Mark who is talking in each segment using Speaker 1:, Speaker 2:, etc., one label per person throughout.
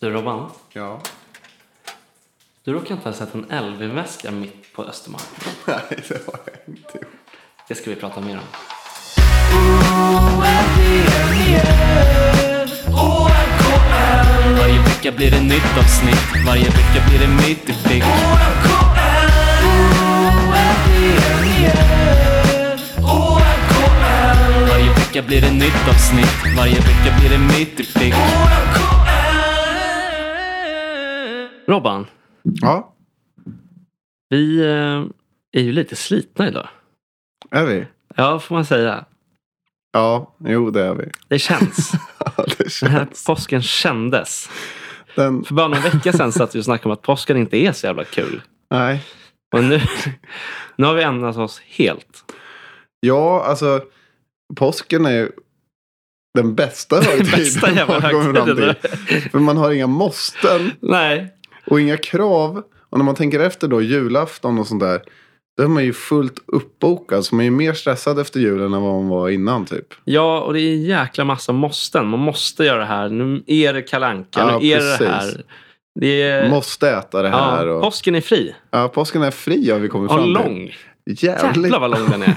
Speaker 1: Du Robban,
Speaker 2: Ja.
Speaker 1: du råkar inte ha sett en Elvinväska mitt på Östermalm.
Speaker 2: Nej, det har jag inte gjort.
Speaker 1: Det ska vi prata mer om.
Speaker 3: Varje vecka blir det nytt avsnitt, varje vecka blir det mitt i blick Varje vecka blir det nytt avsnitt, varje vecka blir det mitt i blick
Speaker 1: Robban,
Speaker 2: Ja,
Speaker 1: vi eh, är ju lite slitna idag.
Speaker 2: är vi?
Speaker 1: Ja, får man säga.
Speaker 2: Ja, jo det är vi.
Speaker 1: Det känns.
Speaker 2: Ja, det
Speaker 1: Den
Speaker 2: känns.
Speaker 1: här påsken kändes.
Speaker 2: Den,
Speaker 1: För bara någon vecka sedan satt vi och snackade om att påsken inte är så jävla kul.
Speaker 2: nej.
Speaker 1: Men nu, nu har vi ändrat oss helt.
Speaker 2: Ja, alltså. Påsken är ju den bästa högtiden.
Speaker 1: Bästa jävla
Speaker 2: man kommer fram
Speaker 1: högtiden.
Speaker 2: till. För man har inga måsten
Speaker 1: Nej,
Speaker 2: och inga krav. Och när man tänker efter då, julafton och sånt där. Då är man ju fullt uppbokad. Så man är ju mer stressad efter julen än vad man var innan typ.
Speaker 1: Ja, och det är en jäkla massa måsten. Man måste göra det här. Nu är det kalanka.
Speaker 2: Ja,
Speaker 1: nu är
Speaker 2: precis.
Speaker 1: det här. Det är,
Speaker 2: Måste äta det här.
Speaker 1: Eh, ja,
Speaker 2: och,
Speaker 1: Påsken är fri
Speaker 2: ja, påsken är fri har vi kommit
Speaker 1: och
Speaker 2: fram till.
Speaker 1: lång.
Speaker 2: Jävligt.
Speaker 1: Jävlar vad lång den är.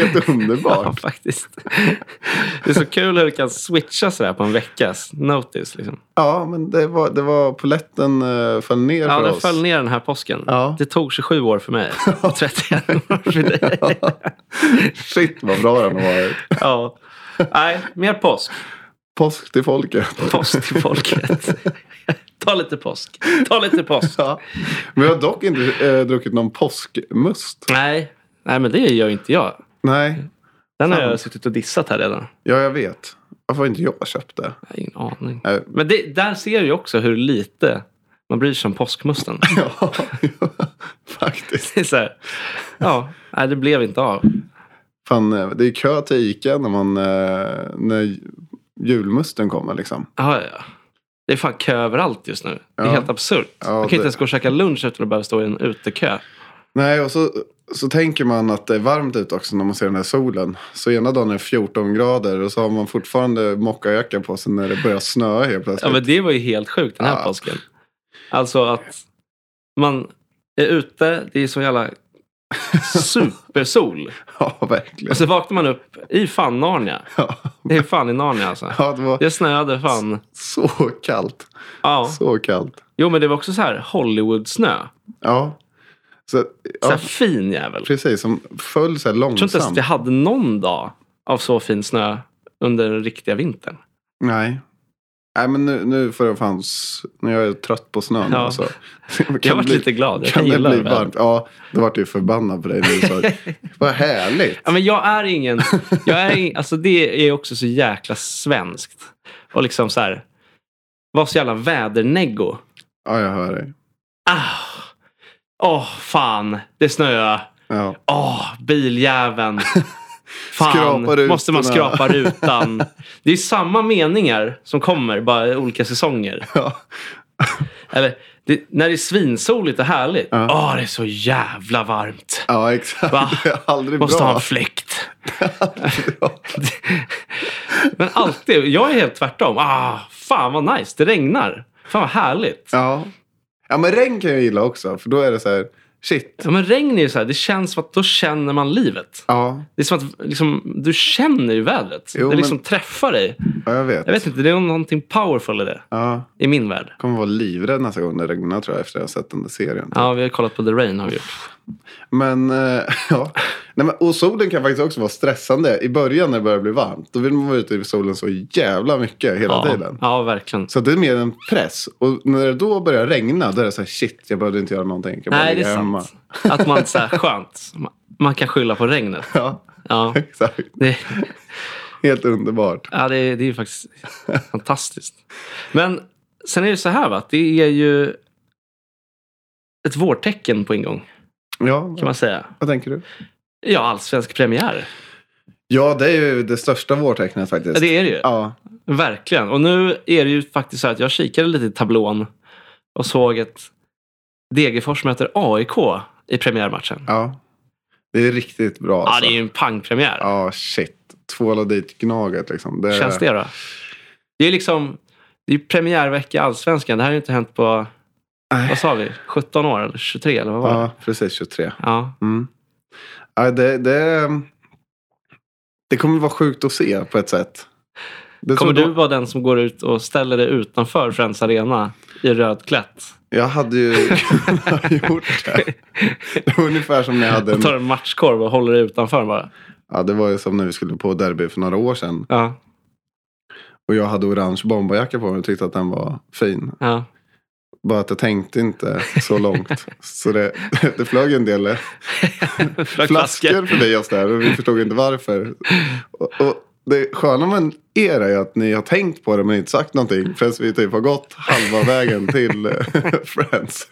Speaker 2: Helt
Speaker 1: ja,
Speaker 2: underbart.
Speaker 1: faktiskt. Det är så kul hur det kan switcha sådär på en veckas notice. Liksom.
Speaker 2: Ja, men det var, det var poletten uh, föll ner
Speaker 1: Ja,
Speaker 2: för
Speaker 1: den
Speaker 2: oss.
Speaker 1: föll ner den här påsken.
Speaker 2: Ja.
Speaker 1: Det tog 27 år för mig och 31 år för dig.
Speaker 2: Shit vad bra den var.
Speaker 1: Ja. Nej, mer påsk.
Speaker 2: Påsk till folket.
Speaker 1: Påsk till folket. Ta lite påsk. Ta lite påsk.
Speaker 2: Ja. Men jag har dock inte eh, druckit någon påskmust.
Speaker 1: Nej. Nej, men det gör ju inte jag.
Speaker 2: Nej,
Speaker 1: Den har
Speaker 2: Fan.
Speaker 1: jag suttit och dissat här redan.
Speaker 2: ja jag vet. Varför har inte jag köpt det?
Speaker 1: Jag har ingen aning.
Speaker 2: Nej.
Speaker 1: Men det, där ser du ju också hur lite man bryr sig om påskmusten.
Speaker 2: Ja, faktiskt.
Speaker 1: Det är så här, ja, nej, det blev inte av.
Speaker 2: Fan, eh, det är kö till Ica när, man, eh, när julmusten kommer liksom.
Speaker 1: Ja, ja. Det är fan kö överallt just nu. Det är
Speaker 2: Ja.
Speaker 1: helt absurt.
Speaker 2: Ja,
Speaker 1: man kan
Speaker 2: det-
Speaker 1: inte ens gå och käka lunch efter att bara stå i en utekö.
Speaker 2: Nej, och så, så tänker man att det är varmt ute också när man ser den här solen. Så ena dagen är det 14 grader och så har man fortfarande mockajacka på sig när det börjar snöa helt
Speaker 1: Ja,
Speaker 2: plötsligt.
Speaker 1: men det var ju helt sjukt den här
Speaker 2: Typ. Ja.
Speaker 1: påsken. Alltså att man är ute, det är så jävla supersol.
Speaker 2: Ja, verkligen.
Speaker 1: Och så vaknar man upp i fan Narnia.
Speaker 2: Ja,
Speaker 1: Det är fan i Narnia alltså.
Speaker 2: ja, det var
Speaker 1: Det snöade fan.
Speaker 2: så kallt.
Speaker 1: Ja.
Speaker 2: Så kallt.
Speaker 1: Jo, men det var också så här Hollywood-snö.
Speaker 2: Ja, så,
Speaker 1: Så här
Speaker 2: ja
Speaker 1: fin jävel. Jag
Speaker 2: precis. Som föll så här
Speaker 1: tror inte ens
Speaker 2: långsamt.
Speaker 1: att vi hade någon dag av så fin snö under den riktiga vintern.
Speaker 2: Nej. Nej, men nu, nu får jag fan... s- Nu är jag trött på snön.
Speaker 1: Ja.
Speaker 2: Alltså.
Speaker 1: Jag varit lite glad. Jag
Speaker 2: Kan det
Speaker 1: gillar
Speaker 2: bli
Speaker 1: det väl.
Speaker 2: varmt? Ja, det vart ju förbannad på dig nu. Så. Vad härligt.
Speaker 1: Ja, men jag är ingen... Jag är ingen alltså det är också så jäkla svenskt. Och liksom så här... Var så jävla väderneggo.
Speaker 2: Ja, jag hör dig.
Speaker 1: Ah! Åh, fan. Det snöar.
Speaker 2: Ja.
Speaker 1: Åh, biljäveln. Fan,
Speaker 2: Skrapa
Speaker 1: måste man
Speaker 2: rutorna.
Speaker 1: skrapa rutan? Det är samma meningar som kommer, bara i olika säsonger.
Speaker 2: Ja.
Speaker 1: Eller, det, när det är svinsoligt och härligt. Åh,
Speaker 2: Ja.
Speaker 1: det är så jävla varmt.
Speaker 2: Ja, exakt.
Speaker 1: Va?
Speaker 2: Det är aldrig
Speaker 1: Måste
Speaker 2: bra.
Speaker 1: ha en fläkt. Men alltid, jag är helt tvärtom. Ah, fan vad nice, det regnar. Fan vad härligt. Ja.
Speaker 2: ja. ja, men regn kan jag gilla också. För då är det så här, shit.
Speaker 1: men regn är ju så här, det känns som att då känner man livet.
Speaker 2: Ja,
Speaker 1: Det är som att liksom, du känner ju vädret.
Speaker 2: Jo,
Speaker 1: det liksom
Speaker 2: men-
Speaker 1: träffar dig.
Speaker 2: ja jag vet.
Speaker 1: Jag vet inte, det är någonting powerful i det.
Speaker 2: Ja,
Speaker 1: I min värld.
Speaker 2: kommer vara livrädd nästa gång det regnar tror jag efter jag har sett den där serien.
Speaker 1: Ja, vi har kollat på The Rain har vi gjort.
Speaker 2: Men, eh, ja. Nej, men, och solen kan faktiskt också vara stressande. I början när det börjar bli varmt, då vill man vara ute i solen så jävla mycket hela
Speaker 1: Ja,
Speaker 2: tiden.
Speaker 1: ja verkligen.
Speaker 2: Så det är mer en press. Och när det då börjar regna, då är det så här, shit, jag behövde inte göra någonting. Jag kan bara
Speaker 1: Nej, det
Speaker 2: ligga
Speaker 1: är
Speaker 2: hemma.
Speaker 1: sant. Att man så här, skönt. Man- Man kan skylla på regnet.
Speaker 2: Ja,
Speaker 1: Ja,
Speaker 2: exakt.
Speaker 1: det,
Speaker 2: Helt underbart.
Speaker 1: ja, det, det är ju faktiskt fantastiskt. Men sen är det så här, va? att det är ju ett vårtecken på ingång,
Speaker 2: Ja,
Speaker 1: kan man säga.
Speaker 2: vad tänker du?
Speaker 1: Ja, allsvensk premiär.
Speaker 2: Ja, det är ju det största vårtecknet
Speaker 1: Ja,
Speaker 2: faktiskt.
Speaker 1: det är det ju.
Speaker 2: Ja,
Speaker 1: Verkligen. Och nu är det ju faktiskt så här att jag kikade lite i tablån och såg att Degerfors möter AIK i premiärmatchen.
Speaker 2: ja. Det är riktigt bra.
Speaker 1: Ja,
Speaker 2: alltså.
Speaker 1: det är ju en pangpremiär.
Speaker 2: Ja, shit. Tvåla dit Gnaget liksom. Det...
Speaker 1: Känns det då? Det är liksom Det är ju premiärvecka i Allsvenskan. Det här har ju inte hänt på,
Speaker 2: Nej.
Speaker 1: vad sa vi, 17 år eller 23 eller vad var det?
Speaker 2: Ja, precis 23.
Speaker 1: Ja.
Speaker 2: Mm. Ja, det, det, det kommer vara sjukt att se på ett sätt. Det
Speaker 1: Kommer
Speaker 2: tror
Speaker 1: du vara den som går ut och ställer dig utanför Friends Arena i röd klätt?
Speaker 2: Jag hade ju kunnat gjort det. Det var ungefär som när jag hade en...
Speaker 1: Och tar en matchkorv och håller dig utanför bara?
Speaker 2: Ja, det var ju som när vi skulle på derby för några år sedan.
Speaker 1: Ja.
Speaker 2: Och jag hade orange bomberjacka på mig och tyckte att den var fin.
Speaker 1: ja.
Speaker 2: Bara att jag tänkte inte så långt. Så det, det flög en del eh, flaskor förbi oss där och vi förstod inte varför. Och, och det sköna med er är ju att ni har tänkt på det men inte sagt någonting förrän vi typ har gått halva vägen till eh, Friends.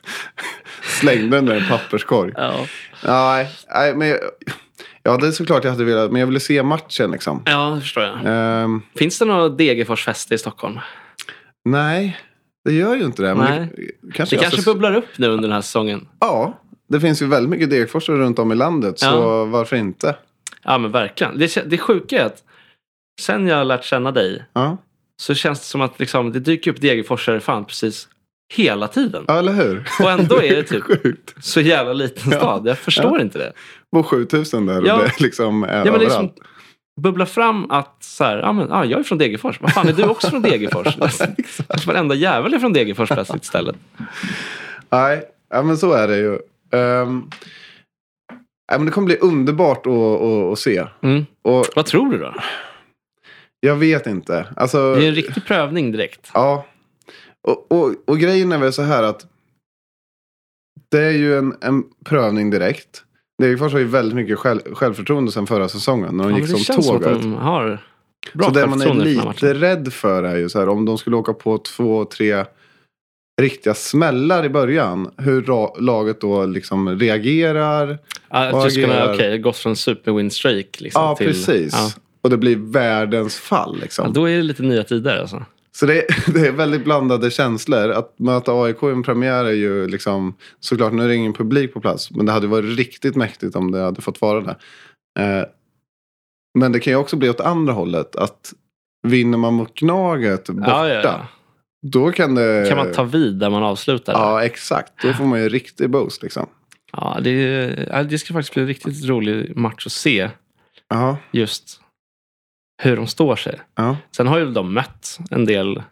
Speaker 2: Slängde den där i en papperskorg.
Speaker 1: Ja.
Speaker 2: Nej, nej men jag, ja, det är såklart jag hade velat, men jag ville se matchen liksom.
Speaker 1: ja, det förstår jag.
Speaker 2: Ehm,
Speaker 1: Finns det några Degerforsfester i Stockholm?
Speaker 2: nej, det gör ju inte det. Men
Speaker 1: Nej.
Speaker 2: Det,
Speaker 1: Det
Speaker 2: kanske jag
Speaker 1: kanske
Speaker 2: ska-
Speaker 1: bubblar upp nu under den här säsongen.
Speaker 2: Ja, det finns ju väldigt mycket Degerforsare runt om i landet. Så
Speaker 1: Ja.
Speaker 2: varför inte?
Speaker 1: Ja, men verkligen. Det, kä- det sjuka är att sen jag har lärt känna dig
Speaker 2: Ja,
Speaker 1: så känns det som att liksom, det dyker upp Degerforsare fan precis hela tiden.
Speaker 2: ja eller hur?
Speaker 1: Och ändå är det typ
Speaker 2: Sjukt.
Speaker 1: så jävla liten stad. Jag förstår inte det.
Speaker 2: På 7000 där
Speaker 1: Ja.
Speaker 2: och det liksom är
Speaker 1: Ja, men det är
Speaker 2: överallt.
Speaker 1: liksom, bubbla fram att så här, ja, men, ja, jag är från Degerfors. Vad fan, är du också från Degerfors? Alltså, Att varenda jävel är från Degerfors plötsligt istället.
Speaker 2: Nej, ja, men så är det ju. Ehm, ja, men det kommer bli underbart att, att, att se.
Speaker 1: Mm.
Speaker 2: Och
Speaker 1: Vad tror du då?
Speaker 2: jag vet inte. Alltså,
Speaker 1: Det är en riktig prövning direkt.
Speaker 2: Ja. Och, och, och grejen är väl så här att det är ju en, en prövning direkt. Degerfors har ju väldigt mycket själv, självförtroende sedan förra säsongen när de
Speaker 1: Ja, men
Speaker 2: gick
Speaker 1: det
Speaker 2: som
Speaker 1: känns som att
Speaker 2: tåget.
Speaker 1: de har bra
Speaker 2: så det man är
Speaker 1: självförtroende för den här matchen.
Speaker 2: lite rädd för är ju så här om de skulle åka på två, tre riktiga smällar i början. Hur ra- laget då liksom reagerar.
Speaker 1: Ja, att du ska kunna,
Speaker 2: agerar.
Speaker 1: okej, okay, gått från superwin-streak liksom,
Speaker 2: ja,
Speaker 1: till...
Speaker 2: precis.
Speaker 1: Ja.
Speaker 2: Och det blir världens fall
Speaker 1: Ja,
Speaker 2: liksom.
Speaker 1: då är det lite nya tider alltså.
Speaker 2: Så det, det är väldigt blandade känslor. Att möta AIK i en premiär är ju liksom... Såklart, nu är det ingen publik på plats. Men det hade varit riktigt mäktigt om det hade fått vara det. Eh, men det kan ju också bli åt andra hållet. Att vinner man mot Gnaget borta,
Speaker 1: Ja, ja, ja.
Speaker 2: då kan det...
Speaker 1: Kan man ta vid där man avslutade? Ja.
Speaker 2: Ja, exakt. Då får man ju riktig boost liksom.
Speaker 1: det, är- ja, det ska faktiskt bli en riktigt rolig match att se
Speaker 2: Ja,
Speaker 1: just hur de står sig.
Speaker 2: ja.
Speaker 1: Sen har ju de mött en del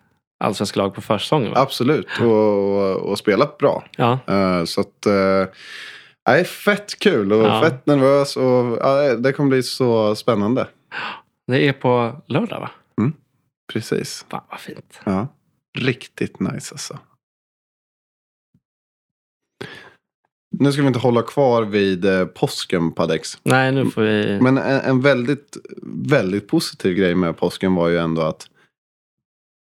Speaker 1: allsvenska lag på försäsongen. Va?
Speaker 2: absolut. Och, och, och spelat bra.
Speaker 1: Ja.
Speaker 2: Eh, så att... eh, Nej, fett kul och
Speaker 1: Ja.
Speaker 2: fett nervös. Och, ja, det kommer bli så spännande.
Speaker 1: Det är på lördag va?
Speaker 2: Precis.
Speaker 1: Fan vad fint.
Speaker 2: Ja. Riktigt nice alltså. Nu ska vi inte hålla kvar vid eh, påsken, Padex.
Speaker 1: Nej, nu får vi...
Speaker 2: Men en, en väldigt, väldigt positiv grej med påsken var ju ändå att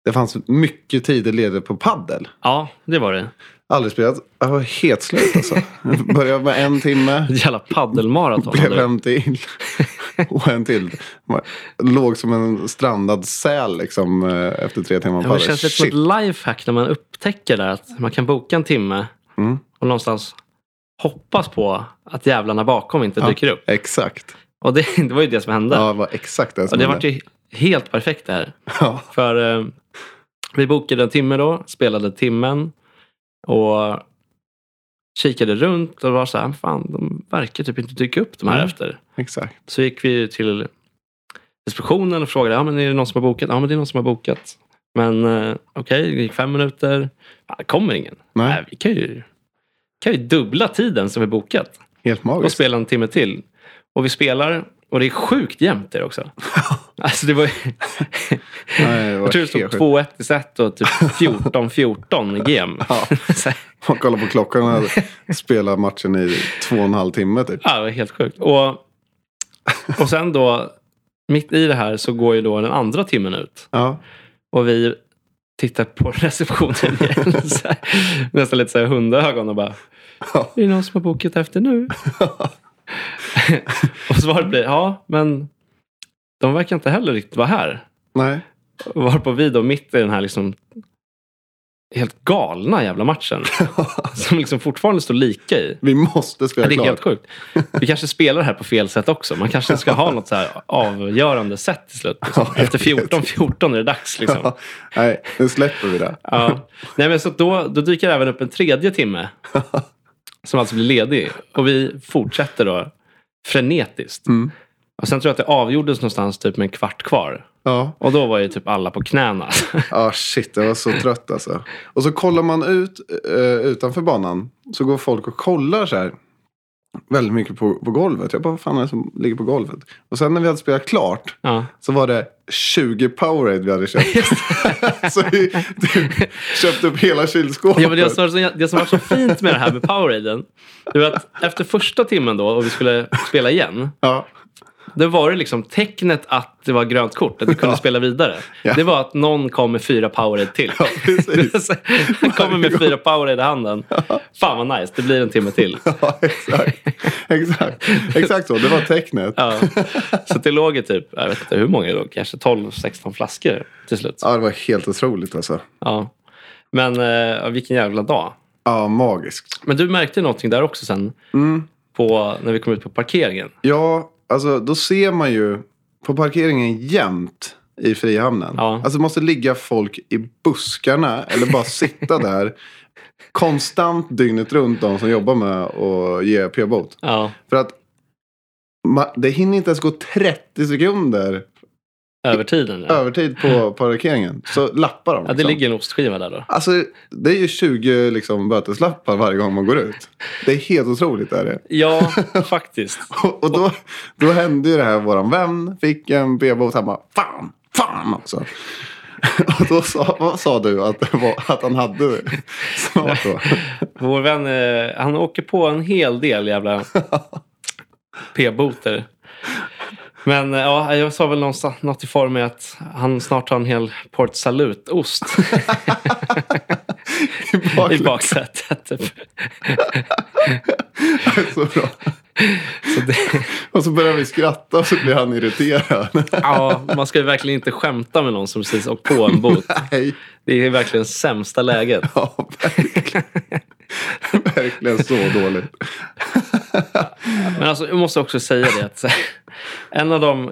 Speaker 2: det fanns mycket tider ledigt på paddel.
Speaker 1: Ja, det var det.
Speaker 2: Aldrig spelat. Jag var helt slut alltså. Började med en timme.
Speaker 1: Ett jävla paddelmaraton.
Speaker 2: Blev en till. Och en till. Man Låg som en strandad säl liksom eh, efter tre timmar
Speaker 1: Ja, men
Speaker 2: paddel.
Speaker 1: det känns lite som
Speaker 2: Shit.
Speaker 1: ett lifehack när man upptäcker där att man kan boka en timme
Speaker 2: Mm.
Speaker 1: och någonstans hoppas på att jävlarna bakom inte dyker upp.
Speaker 2: Exakt.
Speaker 1: Och det, det var ju det som hände.
Speaker 2: Ja, det var exakt det
Speaker 1: och
Speaker 2: som
Speaker 1: det
Speaker 2: hände.
Speaker 1: vart ju helt perfekt det här.
Speaker 2: Ja.
Speaker 1: För eh, vi bokade en timme då, spelade timmen och kikade runt och var så här, fan de verkar typ inte dyka upp de här
Speaker 2: Mm.
Speaker 1: efter.
Speaker 2: Exakt.
Speaker 1: Så gick vi till inspektionen och frågade, ja men är det någon som har bokat? Ja men det är någon som har bokat. Men eh, okej, det gick fem minuter. Ja, det kommer ingen.
Speaker 2: Nej,
Speaker 1: Nej, vi kan ju, kan ju dubbla tiden som vi bokat
Speaker 2: helt
Speaker 1: och
Speaker 2: magiskt.
Speaker 1: spela en timme till. Och vi spelar och det är sjukt jämnt det också. Alltså det var ju...
Speaker 2: Nej, det var
Speaker 1: Jag tror det stod
Speaker 2: helt
Speaker 1: 2-1 i set och typ 14-14 i game.
Speaker 2: Ja.
Speaker 1: Så här,
Speaker 2: Man kollar på klockan och hade spelat matchen i två och en halv timme typ.
Speaker 1: ja, det var helt sjukt. Och, och sen då, mitt i det här så går ju då den andra timmen ut.
Speaker 2: Ja,
Speaker 1: Och vi tittar på receptionen igen. Så här, nästan lite så här hundögon och bara,
Speaker 2: Ja.
Speaker 1: är det någon som har bokat efter nu? och svaret blir, ja, men de verkar inte heller riktigt vara här.
Speaker 2: nej.
Speaker 1: Varpå vi då mitt i den här liksom helt galna jävla matchen. som liksom fortfarande står lika i.
Speaker 2: Vi måste spela
Speaker 1: det är
Speaker 2: klart.
Speaker 1: helt sjukt. Vi kanske spelar det här på fel sätt också. Man kanske ska ha något så här avgörande sätt till slut. Liksom.
Speaker 2: Ja, jag
Speaker 1: Efter 14-14 är det dags. Liksom.
Speaker 2: Ja, nej, nu släpper vi det.
Speaker 1: Ja. Nej, men så att då, då dyker det även upp en tredje timme som alltså blir ledig. Och vi fortsätter då frenetiskt.
Speaker 2: Mm.
Speaker 1: Och sen tror jag att det avgjordes någonstans typ med en kvart kvar.
Speaker 2: Ja.
Speaker 1: Och då var ju typ alla på knäna.
Speaker 2: Ah, shit, jag var så trött alltså. Och så kollar man ut eh, utanför banan. Så går folk och kollar så här. Väldigt mycket på, på golvet. Jag bara, vad fan är det som ligger på golvet? Och sen när vi hade spelat klart.
Speaker 1: Ja.
Speaker 2: Så var det 20 Powerade vi hade köpt. så vi typ, köpte upp hela kylskåpet.
Speaker 1: Ja, men det, som, var så- det som var så fint med det här med Poweraden, det var att efter första timmen då och vi skulle spela igen,
Speaker 2: Ja,
Speaker 1: då var det liksom tecknet att det var grönt kort, att vi kunde spela vidare.
Speaker 2: Ja.
Speaker 1: Det var att någon kom med fyra Powerade till.
Speaker 2: ja, precis.
Speaker 1: Han kommer med fyra Powerade i handen. Fan vad nice, det blir en timme till.
Speaker 2: Ja, exakt. exakt. Exakt så, det var tecknet. Ja.
Speaker 1: Ja. Så det låg i typ, jag vet inte hur många det låg, kanske 12-16 flaskor till slut.
Speaker 2: det var helt otroligt alltså.
Speaker 1: Ja. Men eh, vilken jävla dag.
Speaker 2: Ja, magiskt.
Speaker 1: Men du märkte någonting där också sen,
Speaker 2: Mm.
Speaker 1: på, när vi kom ut på parkeringen.
Speaker 2: Ja, alltså då ser man ju på parkeringen jämt i Frihamnen.
Speaker 1: Ja.
Speaker 2: Alltså det måste ligga folk i buskarna eller bara sitta där. Konstant dygnet runt de som jobbar med att ge p-bot.
Speaker 1: Ja.
Speaker 2: För att ma- det hinner inte ens gå 30 sekunder
Speaker 1: Över tiden? Ja.
Speaker 2: övertid på parkeringen. Så lappar de.
Speaker 1: ja, det
Speaker 2: liksom.
Speaker 1: ligger en ostskiva där då.
Speaker 2: Alltså, det är ju 20 liksom, böteslappar varje gång man går ut. Det är helt otroligt. Är det.
Speaker 1: Ja, faktiskt.
Speaker 2: Och, och då, då hände ju det här. Våran vän fick en p-bot. Han bara fan, fan också. Och då sa, vad sa du att, det var, att han hade det? snart då?
Speaker 1: Vår vän, eh, han åker på en hel del jävla p-boter. Men eh, ja, jag sa väl någonstans, något i form med att han snart har en hel Port Salut-ost
Speaker 2: I
Speaker 1: i
Speaker 2: bakluckan.
Speaker 1: baksätet. Typ.
Speaker 2: Så bra.
Speaker 1: Så det,
Speaker 2: Och så börjar vi skratta och så blir han irriterad.
Speaker 1: ja, man ska ju verkligen inte skämta med någon som precis åkt på en bot.
Speaker 2: Nej.
Speaker 1: Det är verkligen sämsta läget.
Speaker 2: Ja, verkligen. verkligen så dåligt.
Speaker 1: Men alltså, jag måste också säga det att en av de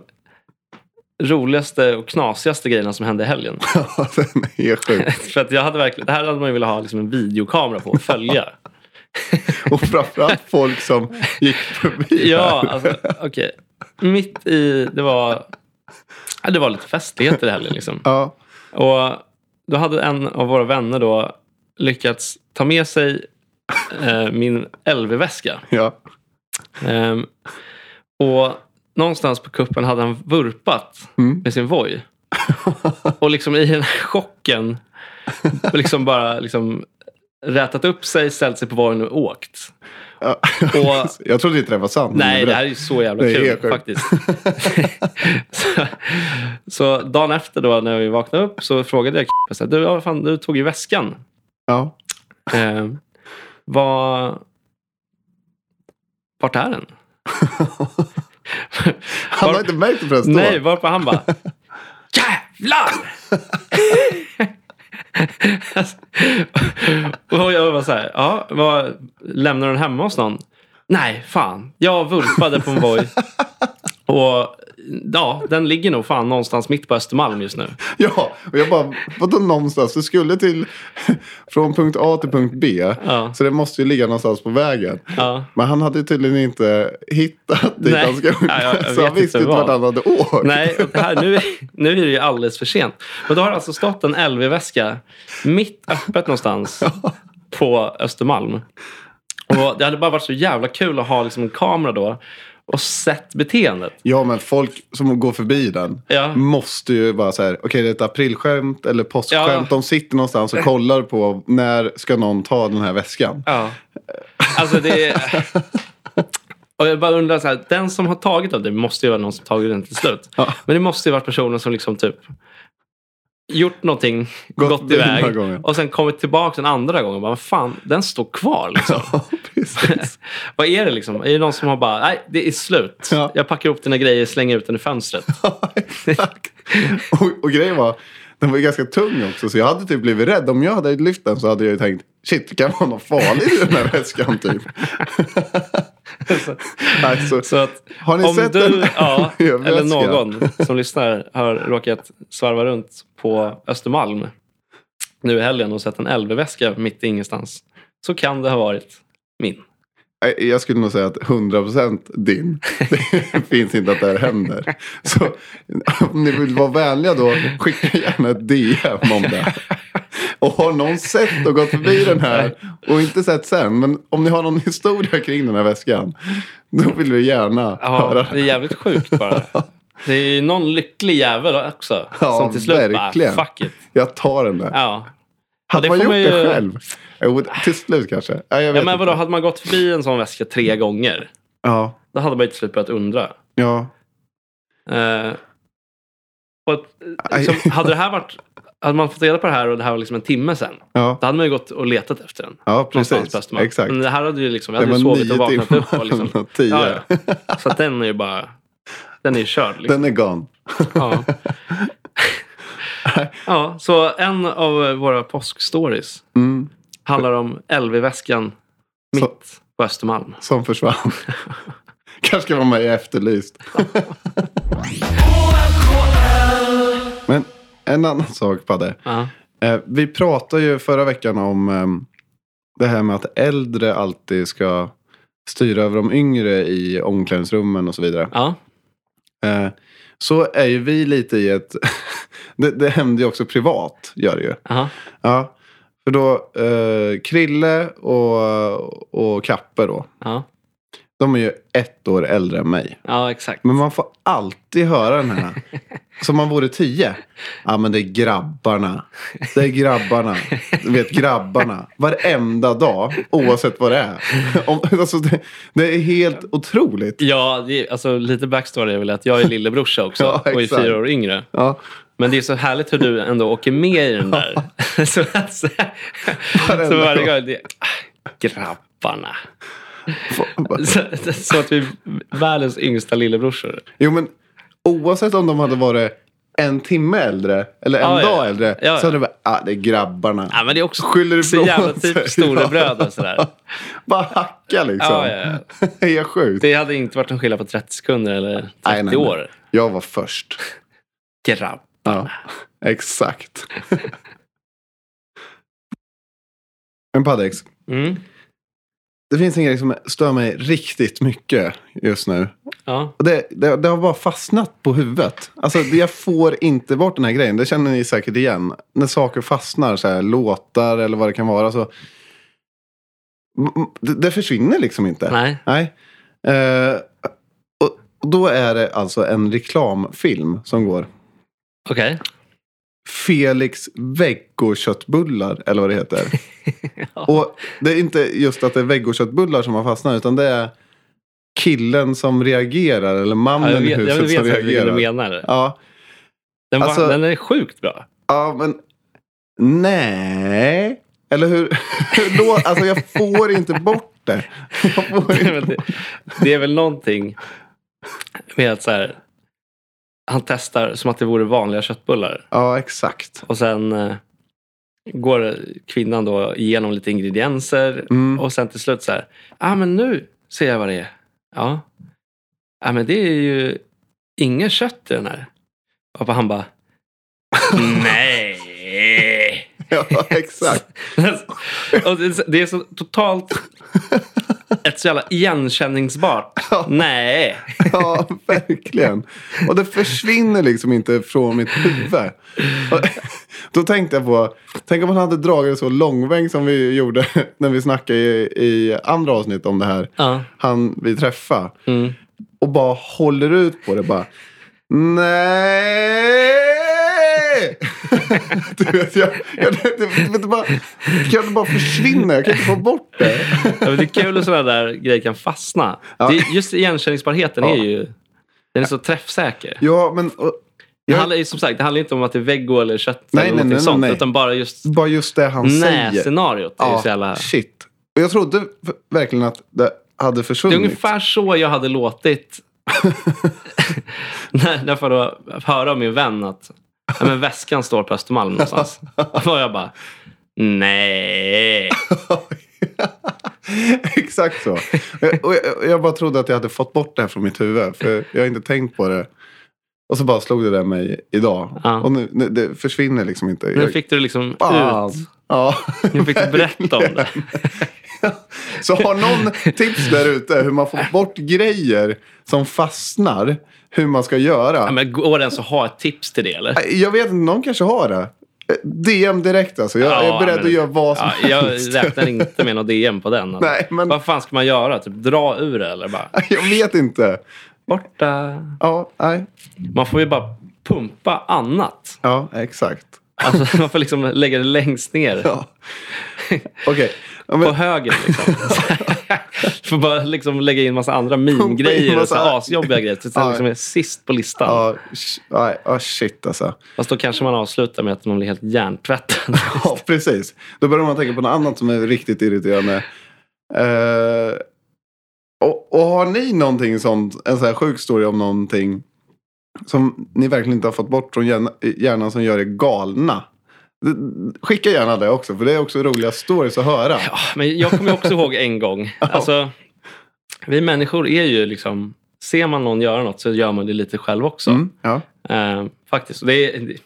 Speaker 1: roligaste och knasigaste grejerna som hände i helgen.
Speaker 2: Ja, den är sjuk.
Speaker 1: För att jag hade verkligen, det här hade man ju velat ha liksom en videokamera på och följa.
Speaker 2: Och framförallt folk som gick förbi.
Speaker 1: Ja, alltså okej. Mitt i, det var, ja, det var lite festligheter i helgen liksom.
Speaker 2: Ja,
Speaker 1: Och då hade en av våra vänner då lyckats ta med sig eh, min LV-väska.
Speaker 2: ja.
Speaker 1: Ehm, och någonstans på kuppen hade han vurpat
Speaker 2: Mm.
Speaker 1: med sin voj. Och liksom i den här chocken liksom bara liksom rätat upp sig, ställt sig på vojen och åkt.
Speaker 2: ja.
Speaker 1: Och
Speaker 2: Jag trodde inte det var sant.
Speaker 1: nej,
Speaker 2: men
Speaker 1: det här är ju så jävla
Speaker 2: Det är
Speaker 1: kul
Speaker 2: helt sjukt.
Speaker 1: faktiskt. så, så dagen efter då när vi vaknade upp så frågade jag så här, du, ja, fan, du tog ju väskan.
Speaker 2: Ja.
Speaker 1: Eh, vad... Vart är den?
Speaker 2: Han har
Speaker 1: Var-
Speaker 2: inte märkt det förresten
Speaker 1: Nej,
Speaker 2: då.
Speaker 1: varpå han bara Jävlar! och jag var så här, ja, vad, lämnar den hemma hos någon? Nej, fan. Jag vurpade på en voj. Och ja, den ligger nog fan någonstans mitt på Östermalm just nu.
Speaker 2: Ja, och jag bara, vadå någonstans? Du skulle till, från punkt A till punkt B.
Speaker 1: Ja.
Speaker 2: Så det måste ju ligga någonstans på vägen.
Speaker 1: Ja.
Speaker 2: Men han hade ju tydligen inte hittat dit
Speaker 1: Nej.
Speaker 2: han ska
Speaker 1: Ja, jag- jag
Speaker 2: Så
Speaker 1: vet
Speaker 2: han
Speaker 1: inte
Speaker 2: visste inte
Speaker 1: vad.
Speaker 2: vart han hade åkt.
Speaker 1: Nej, och det här, nu, nu är det ju alldeles för sent. Men då har det alltså stått en LV-väska mitt öppet någonstans på Östermalm. Och det hade bara varit så jävla kul att ha liksom en kamera då och sett beteendet.
Speaker 2: Ja, men folk som går förbi den
Speaker 1: Ja.
Speaker 2: måste ju bara så här, okej det är ett aprilskämt eller påskskämt.
Speaker 1: Ja.
Speaker 2: De sitter någonstans och kollar på när ska någon ta den här väskan.
Speaker 1: Ja. Alltså det är... Och jag bara undrar, så här, den som har tagit den, det måste ju vara någon som tagit den till slut.
Speaker 2: Ja.
Speaker 1: Men det måste ju varit personen som liksom typ gjort någonting, gått,
Speaker 2: Gått den här
Speaker 1: iväg
Speaker 2: gången.
Speaker 1: och sen kommit tillbaka den andra gången och bara, "Vad fan, den står kvar liksom.
Speaker 2: Ja, precis.
Speaker 1: Vad är det liksom? Är det någon som har bara, nej, det är slut.
Speaker 2: Ja.
Speaker 1: Jag packar ihop dina grejer, slänger ut den i fönstret.
Speaker 2: Ja, exakt. och, och grejen var, Den var ju ganska tung också så jag hade typ blivit rädd. Om jag hade lyft den så hade jag ju tänkt shit det kan vara något farligt i den här väskan typ. alltså,
Speaker 1: Så att
Speaker 2: har ni
Speaker 1: om
Speaker 2: sett
Speaker 1: du
Speaker 2: en
Speaker 1: ja,
Speaker 2: miljöväska?
Speaker 1: eller någon som lyssnar har råkat svarva runt på Östermalm nu i helgen och sett en LV-väska mitt i ingenstans så kan det ha varit min.
Speaker 2: Nej, Jag skulle nog säga att 100% din. Det finns inte att det här händer. Så om ni vill vara vänliga då, skicka gärna ett DM om det. Och har någon sett och gått förbi den här och inte sett sen, men om ni har någon historia kring den här väskan, då vill vi gärna
Speaker 1: Ja,
Speaker 2: höra.
Speaker 1: det är jävligt sjukt bara. Det är ju någon lycklig jävel också
Speaker 2: Ja,
Speaker 1: som till slut
Speaker 2: verkligen.
Speaker 1: bara fuck it.
Speaker 2: Jag tar den där.
Speaker 1: Ja.
Speaker 2: Hade
Speaker 1: det
Speaker 2: man
Speaker 1: får
Speaker 2: gjort
Speaker 1: man
Speaker 2: det
Speaker 1: ju-
Speaker 2: själv? Jo, till slut kanske. Ja, jag vet
Speaker 1: Ja, men vadå,
Speaker 2: inte.
Speaker 1: hade man gått förbi en sån väska tre gånger
Speaker 2: Ja,
Speaker 1: då hade man ju till slut börjat undra.
Speaker 2: ja.
Speaker 1: Eh, och att, eh,
Speaker 2: Aj.
Speaker 1: liksom, hade, det här varit, hade man fått reda på det här och det här var liksom en timme sen,
Speaker 2: Ja,
Speaker 1: då hade man ju gått och letat efter den.
Speaker 2: ja
Speaker 1: någonstans
Speaker 2: precis.
Speaker 1: på Östermalm.
Speaker 2: Exakt.
Speaker 1: Men det här hade ju liksom, vi
Speaker 2: Det
Speaker 1: hade ju
Speaker 2: var
Speaker 1: sovit och
Speaker 2: nio
Speaker 1: vaknat upp. Och liksom,
Speaker 2: timmar,
Speaker 1: ja,
Speaker 2: tio.
Speaker 1: ja. Så att den är ju bara, den är ju körd. Liksom.
Speaker 2: Den är gone.
Speaker 1: Ja. ja, så en av våra påskstories
Speaker 2: Mm,
Speaker 1: handlar om LV-väskan mitt
Speaker 2: Så-
Speaker 1: på Östermalm.
Speaker 2: som försvann. Kanske ska vara med i Efterlyst. Men en annan sak Padde.
Speaker 1: Ja.
Speaker 2: Eh, vi pratade ju förra veckan om ehm, det här med att äldre alltid ska styra över de yngre i omklädningsrummen och så vidare.
Speaker 1: Ja.
Speaker 2: Eh, så är ju vi lite i ett... det, det händer ju också privat, gör det ju.
Speaker 1: aha.
Speaker 2: Ja, för då eh, Krille och, och Kappe då.
Speaker 1: Ja.
Speaker 2: De är ju ett år äldre än mig.
Speaker 1: ja, exakt.
Speaker 2: Men man får alltid höra den här. Som man vore tio. Ja, men det är grabbarna. Det är grabbarna. Du vet, grabbarna. Varenda dag, oavsett vad det är. Om, alltså, det, det är helt otroligt.
Speaker 1: Ja, det, är- alltså, lite backstory är väl att jag är lillebrorsa också
Speaker 2: Ja,
Speaker 1: och är
Speaker 2: exakt.
Speaker 1: fyra år yngre.
Speaker 2: Ja,
Speaker 1: Men det är så härligt hur du ändå åker med i den där. så, alltså,
Speaker 2: Varenda
Speaker 1: så varje
Speaker 2: gång.
Speaker 1: gång. Det, ah, grabbarna.
Speaker 2: fa-
Speaker 1: Så, så att vi är världens yngsta lillebrorsor.
Speaker 2: Jo, men oavsett om de hade varit en timme äldre eller en
Speaker 1: Ja, ja.
Speaker 2: dag äldre.
Speaker 1: Ja, ja.
Speaker 2: så hade det varit, ah, det är grabbarna.
Speaker 1: Ja, men det är också
Speaker 2: Skyller
Speaker 1: så
Speaker 2: ifrån
Speaker 1: jävla
Speaker 2: sig.
Speaker 1: typ storebröder.
Speaker 2: Liksom.
Speaker 1: Sådär.
Speaker 2: Bara hacka liksom.
Speaker 1: Ja, ja,
Speaker 2: Är jag sjuk?
Speaker 1: Det hade inte varit en skillnad på 30 sekunder eller 30
Speaker 2: Nej, nej, nej.
Speaker 1: år.
Speaker 2: Jag var först.
Speaker 1: Grabb.
Speaker 2: Ja, exakt. Men Padex,
Speaker 1: Mm.
Speaker 2: det finns en grej som stör mig riktigt mycket just nu.
Speaker 1: Ja.
Speaker 2: Och det, det, det har bara fastnat på huvudet. Alltså, det- jag får inte bort den här grejen. Det känner ni säkert igen. När saker fastnar, så här, låtar eller vad det kan vara. Så... M- m- Det, det försvinner liksom inte.
Speaker 1: Nej.
Speaker 2: Nej. Eh, och- och då är det alltså en reklamfilm som går.
Speaker 1: Okej.
Speaker 2: Felix veggoköttbullar, eller vad det heter. Och det är inte just att det är veggoköttbullar som har fastnat, utan det är killen som reagerar, eller
Speaker 1: Ja,
Speaker 2: mannen
Speaker 1: jag
Speaker 2: i
Speaker 1: vet, jag
Speaker 2: huset som
Speaker 1: vet inte vilken du
Speaker 2: reagerar.
Speaker 1: menar.
Speaker 2: Ja,
Speaker 1: Den, var,
Speaker 2: Alltså-
Speaker 1: den är sjukt bra.
Speaker 2: ja, men nej. Eller hur? hur då? Alltså jag får inte bort det. Jag får
Speaker 1: Nej,
Speaker 2: inte
Speaker 1: men det, det är väl någonting med att så här, han testar som att det vore vanliga köttbullar.
Speaker 2: Ja, exakt.
Speaker 1: Och sen eh, går kvinnan då igenom lite ingredienser.
Speaker 2: Mm.
Speaker 1: Och sen till slut så här, ja ah, men nu ser jag vad det är. Ja, ah, men det är ju inget kött i den här. Och han bara, nej.
Speaker 2: Ja, exakt.
Speaker 1: och det, det är så totalt ett så jävla igenkänningsbart. Nej.
Speaker 2: Ja, verkligen. Och det försvinner liksom inte från mitt huvud. Och då tänkte jag på, tänk om man hade dragit det så långväng som vi gjorde när vi snackade i, i andra avsnitt om det här.
Speaker 1: Ja.
Speaker 2: Han vi träffade.
Speaker 1: Mm.
Speaker 2: Och bara håller ut på det bara. Nej! Du vet, jag, jag, jag, vet du bara, kan det bara försvinna? Jag kan inte få bort det.
Speaker 1: Ja, men det är kul att sådana där grejer kan fastna.
Speaker 2: Ja.
Speaker 1: Det, är- just igenkänningsbarheten är
Speaker 2: Ja.
Speaker 1: ju den är så träffsäker.
Speaker 2: Ja, men och,
Speaker 1: Det
Speaker 2: Ja.
Speaker 1: handlar, ju- som sagt, det handlar inte om att det är veggo eller kött
Speaker 2: Nej,
Speaker 1: eller
Speaker 2: nej,
Speaker 1: någonting
Speaker 2: nej,
Speaker 1: sånt.
Speaker 2: nej.
Speaker 1: Utan bara just
Speaker 2: bara just det han säger.
Speaker 1: nej-scenariot. Det, är ju så jävla...
Speaker 2: shit. Och jag trodde v- verkligen att det hade
Speaker 1: det är
Speaker 2: försvunnit.
Speaker 1: ungefär så jag hade låtit när, när jag får då höra av min vän att Ja, men väskan står på Östermalm någonstans. Och jag bara, nej.
Speaker 2: Exakt så. Jag- Och jag, och jag bara trodde att jag hade fått bort det här från mitt huvud. För jag har inte tänkt på det. Och så bara slog det där mig idag.
Speaker 1: Ja.
Speaker 2: Och nu, nu, det försvinner liksom inte.
Speaker 1: Nu
Speaker 2: Jag-
Speaker 1: fick du det liksom
Speaker 2: Fan.
Speaker 1: ut.
Speaker 2: Ja.
Speaker 1: Nu fick du berätta om det.
Speaker 2: Så har någon tips där ute hur man får bort grejer som fastnar. Hur man ska göra.
Speaker 1: Ja, men går det ens att ha ett tips till det eller?
Speaker 2: Jag vet inte, någon kanske har det. DM direkt alltså. Jag, jag är beredd
Speaker 1: men-
Speaker 2: att göra vad som
Speaker 1: ja,
Speaker 2: helst.
Speaker 1: Jag räknar inte med något DM på den. alltså.
Speaker 2: Nej, men-
Speaker 1: Vad fan ska man göra? Typ, dra ur det eller bara
Speaker 2: Jag vet inte.
Speaker 1: borta?
Speaker 2: Ja, nej.
Speaker 1: Man får ju bara pumpa annat.
Speaker 2: Ja, exakt.
Speaker 1: Alltså, man får liksom lägga det längst ner.
Speaker 2: Ja. Okej. Ja,
Speaker 1: På
Speaker 2: men-
Speaker 1: höger liksom. Du får bara liksom lägga in massa andra
Speaker 2: Pumpa in
Speaker 1: mingrejer och så
Speaker 2: massa-
Speaker 1: här asjobbiga grejer. Tills den
Speaker 2: Ja.
Speaker 1: liksom är sist på listan.
Speaker 2: Ja, sh- nej, ja, shit alltså.
Speaker 1: Fast då kanske man avslutar med att man blir helt hjärntvättad.
Speaker 2: Ja, precis. Då börjar man tänka på något annat som är riktigt irriterande. Eh, och, och har ni någonting sånt, en sån här sjuk story om någonting som ni verkligen inte har fått bort från hjärna- hjärnan som gör er galna? Skicka gärna det också, för det är också roliga stories att höra.
Speaker 1: Ja, men jag kommer ju också ihåg en gång. Alltså, vi människor är ju liksom... Ser man någon göra något så gör man det lite själv också.
Speaker 2: Mm, ja.
Speaker 1: Eh, faktiskt. Och Det, är-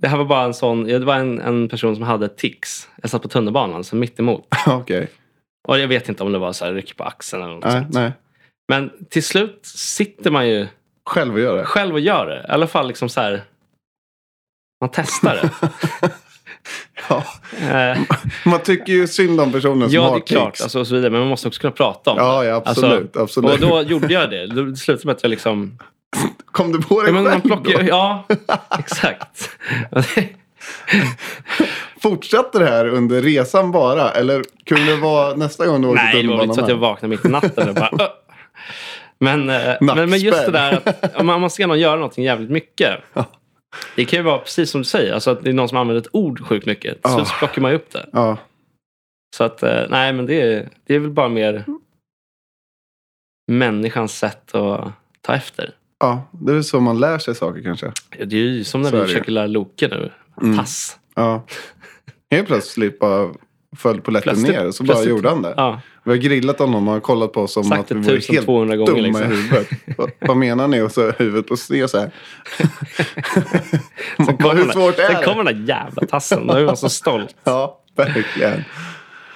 Speaker 1: det här var bara en sån... ja, Det var en, en person som hade tics. Jag satt på tunnelbanan, så mitt emot.
Speaker 2: Okej.
Speaker 1: Och jag vet inte om det var så här ryck på axeln eller något
Speaker 2: Nej,
Speaker 1: sånt.
Speaker 2: nej.
Speaker 1: Men till slut sitter man ju
Speaker 2: Själv att göra det.
Speaker 1: själv och gör det. I alla fall liksom så här... Man testar det.
Speaker 2: Ja.
Speaker 1: Eh,
Speaker 2: Man tycker ju synd om personen som
Speaker 1: ja,
Speaker 2: har
Speaker 1: det är klart.
Speaker 2: tics.
Speaker 1: Alltså, och så vidare. Men man måste också kunna prata om
Speaker 2: Ja,
Speaker 1: det. Alltså,
Speaker 2: ja, absolut. absolut.
Speaker 1: Och då gjorde jag det. Då slutade med att jag liksom...
Speaker 2: Kom du på det
Speaker 1: Ja, men man
Speaker 2: själv då?
Speaker 1: plockar, ja exakt.
Speaker 2: Fortsatte det här under resan bara? Eller kunde det vara nästa gång du åkte
Speaker 1: Nej, det var väl inte så att jag
Speaker 2: tunnelbanan?
Speaker 1: vaknade mitt i natten och bara... "Ö." Men, eh, men, men just det
Speaker 2: Nackspärr.
Speaker 1: där att om man, om man ser någon göra någonting jävligt mycket. Det kan ju vara precis som du säger, alltså att det är någon som använder ett ord sjukt mycket. Till slut så
Speaker 2: Ah.
Speaker 1: plockar man ju upp det.
Speaker 2: Ja.
Speaker 1: Så att, eh, nej men det är, det är väl bara mer människans sätt att ta efter.
Speaker 2: ja, det är väl så man lär sig saker kanske.
Speaker 1: Det är ju som när
Speaker 2: Så är
Speaker 1: vi
Speaker 2: det ju.
Speaker 1: försöker lära Loke nu.
Speaker 2: Mm.
Speaker 1: Pass.
Speaker 2: Ja. Helt plötsligt bara föll polletten
Speaker 1: Plötsligt-
Speaker 2: ner och så bara
Speaker 1: plötsligt.
Speaker 2: gjorde han det.
Speaker 1: Ja,
Speaker 2: Vi har grillat honom och han har kollat på oss som
Speaker 1: sagt
Speaker 2: att vi
Speaker 1: det
Speaker 2: vore helt
Speaker 1: 1200 gånger.
Speaker 2: dumma i
Speaker 1: Liksom.
Speaker 2: huvudet. vad, vad menar ni? Och så är huvudet på sned så här.
Speaker 1: Sen
Speaker 2: Bara,
Speaker 1: kommer
Speaker 2: hur
Speaker 1: den-
Speaker 2: svårt är
Speaker 1: Sen
Speaker 2: det?
Speaker 1: kommer den där jävla tassen. Då är man så stolt.
Speaker 2: Ja, verkligen.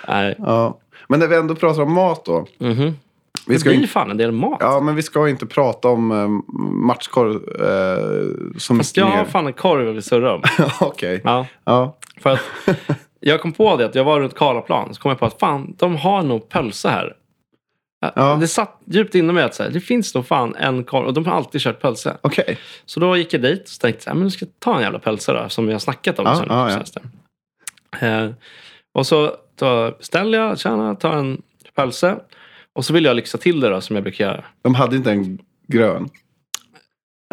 Speaker 1: Nej.
Speaker 2: Ja. Men när vi ändå pratar om mat då.
Speaker 1: Mhm.
Speaker 2: Vi
Speaker 1: det
Speaker 2: ska
Speaker 1: blir ju
Speaker 2: inte,
Speaker 1: fan en del mat.
Speaker 2: ja, men vi ska inte prata om eh, matchkorv eh, så
Speaker 1: Fast
Speaker 2: mycket
Speaker 1: jag har
Speaker 2: mer.
Speaker 1: fan en korv jag vill surra om.
Speaker 2: Okej.
Speaker 1: Ja,
Speaker 2: Ja.
Speaker 1: för att jag kom på det att jag var runt Karlaplan. Så kom jag på att fan, de har nog pölsa här.
Speaker 2: Ja.
Speaker 1: Det satt djupt inom mig att så här, det finns nog fan en korv. Och de har alltid kört pölsa.
Speaker 2: Okej.
Speaker 1: Så då gick jag dit och så tänkte jag, "Ja, men jag ska ta en jävla pölsa då, som jag har snackat om.
Speaker 2: Ja,
Speaker 1: sen,
Speaker 2: ja, ja.
Speaker 1: senast där. Eh, och så då beställer jag, tjena, tar en pölse. Och så vill jag lyxa till det då, som jag brukar göra.
Speaker 2: De hade inte en grön.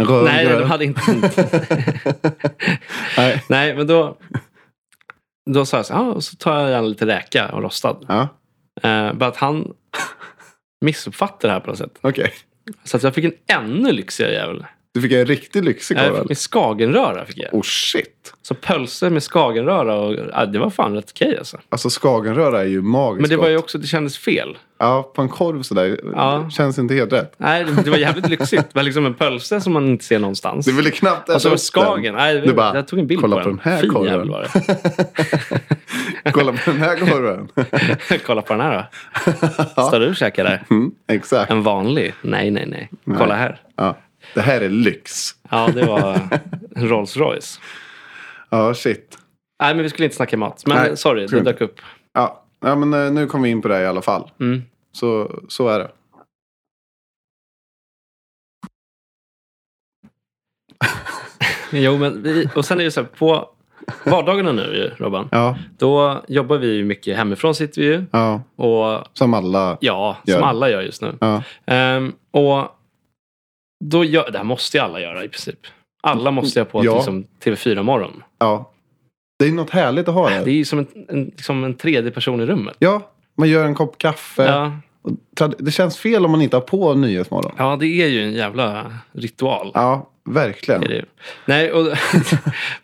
Speaker 2: En röd
Speaker 1: Nej, nej,
Speaker 2: grön.
Speaker 1: de hade inte.
Speaker 2: Nej.
Speaker 1: nej, men då, då sa jag så här, ah, och så tar jag gärna lite räka och rostad.
Speaker 2: Ja,
Speaker 1: Eh, bara att han missuppfattade det här på något sätt.
Speaker 2: okej.
Speaker 1: Så att jag fick en ännu lyxigare jävel.
Speaker 2: Du fick en riktigt lyxig
Speaker 1: Jag
Speaker 2: korv.
Speaker 1: fick
Speaker 2: eller?
Speaker 1: med skagenröra. Fick jag.
Speaker 2: Oh shit.
Speaker 1: Så pölse med skagenröra, och, ja, det var fan rätt okej alltså.
Speaker 2: Alltså skagenröra är ju magiskt
Speaker 1: Men det var ju
Speaker 2: gott.
Speaker 1: också, det kändes fel.
Speaker 2: Ja, på en korv sådär. eh,
Speaker 1: Ja.
Speaker 2: Känns inte helt rätt.
Speaker 1: Nej, det det var jävligt lyxigt. Det var liksom en pölse som man inte ser någonstans.
Speaker 2: Du ville knappt äta
Speaker 1: och så Alltså, var
Speaker 2: upp
Speaker 1: Skagen. Nej,
Speaker 2: Du bara,
Speaker 1: jag tog en bild
Speaker 2: kolla
Speaker 1: på
Speaker 2: på
Speaker 1: den.
Speaker 2: den här
Speaker 1: fin
Speaker 2: korven.
Speaker 1: jävel var det.
Speaker 2: den. Kolla på den här korven.
Speaker 1: Kolla på den här då. Står du och käkar där?
Speaker 2: Mm, exakt.
Speaker 1: En vanlig? Nej, nej, nej. Kolla här.
Speaker 2: Ja. Det här är lyx.
Speaker 1: Ja, det var en Rolls Royce.
Speaker 2: Ja, shit.
Speaker 1: Nej, men vi skulle inte snacka mat. Men
Speaker 2: Nej,
Speaker 1: sorry, det
Speaker 2: skulle
Speaker 1: dök upp.
Speaker 2: Ja. ja, men eh, nu kom vi in på det här i alla fall.
Speaker 1: Mm.
Speaker 2: Så, så är det.
Speaker 1: Jo, men vi, och sen är det så här, på vardagarna nu ju, Robban,
Speaker 2: Ja,
Speaker 1: då jobbar vi ju mycket hemifrån sitter vi ju.
Speaker 2: ja.
Speaker 1: Och
Speaker 2: som alla.
Speaker 1: ja,
Speaker 2: Gör
Speaker 1: som
Speaker 2: det.
Speaker 1: alla gör just nu.
Speaker 2: Ja.
Speaker 1: Ehm, och då gör, det här måste ju alla göra i princip. Alla måste ju ha på
Speaker 2: Ja.
Speaker 1: liksom, TV4-morgon.
Speaker 2: ja. Det är något härligt att ha det.
Speaker 1: Det är ju som en, en, liksom en tredje person i rummet.
Speaker 2: Ja, man gör en kopp kaffe.
Speaker 1: Ja,
Speaker 2: Och trad- Det känns fel om man inte har på Nyhetsmorgon.
Speaker 1: Ja, det är ju en jävla ritual.
Speaker 2: Ja, verkligen.
Speaker 1: Är det. ju. Nej, och, alltså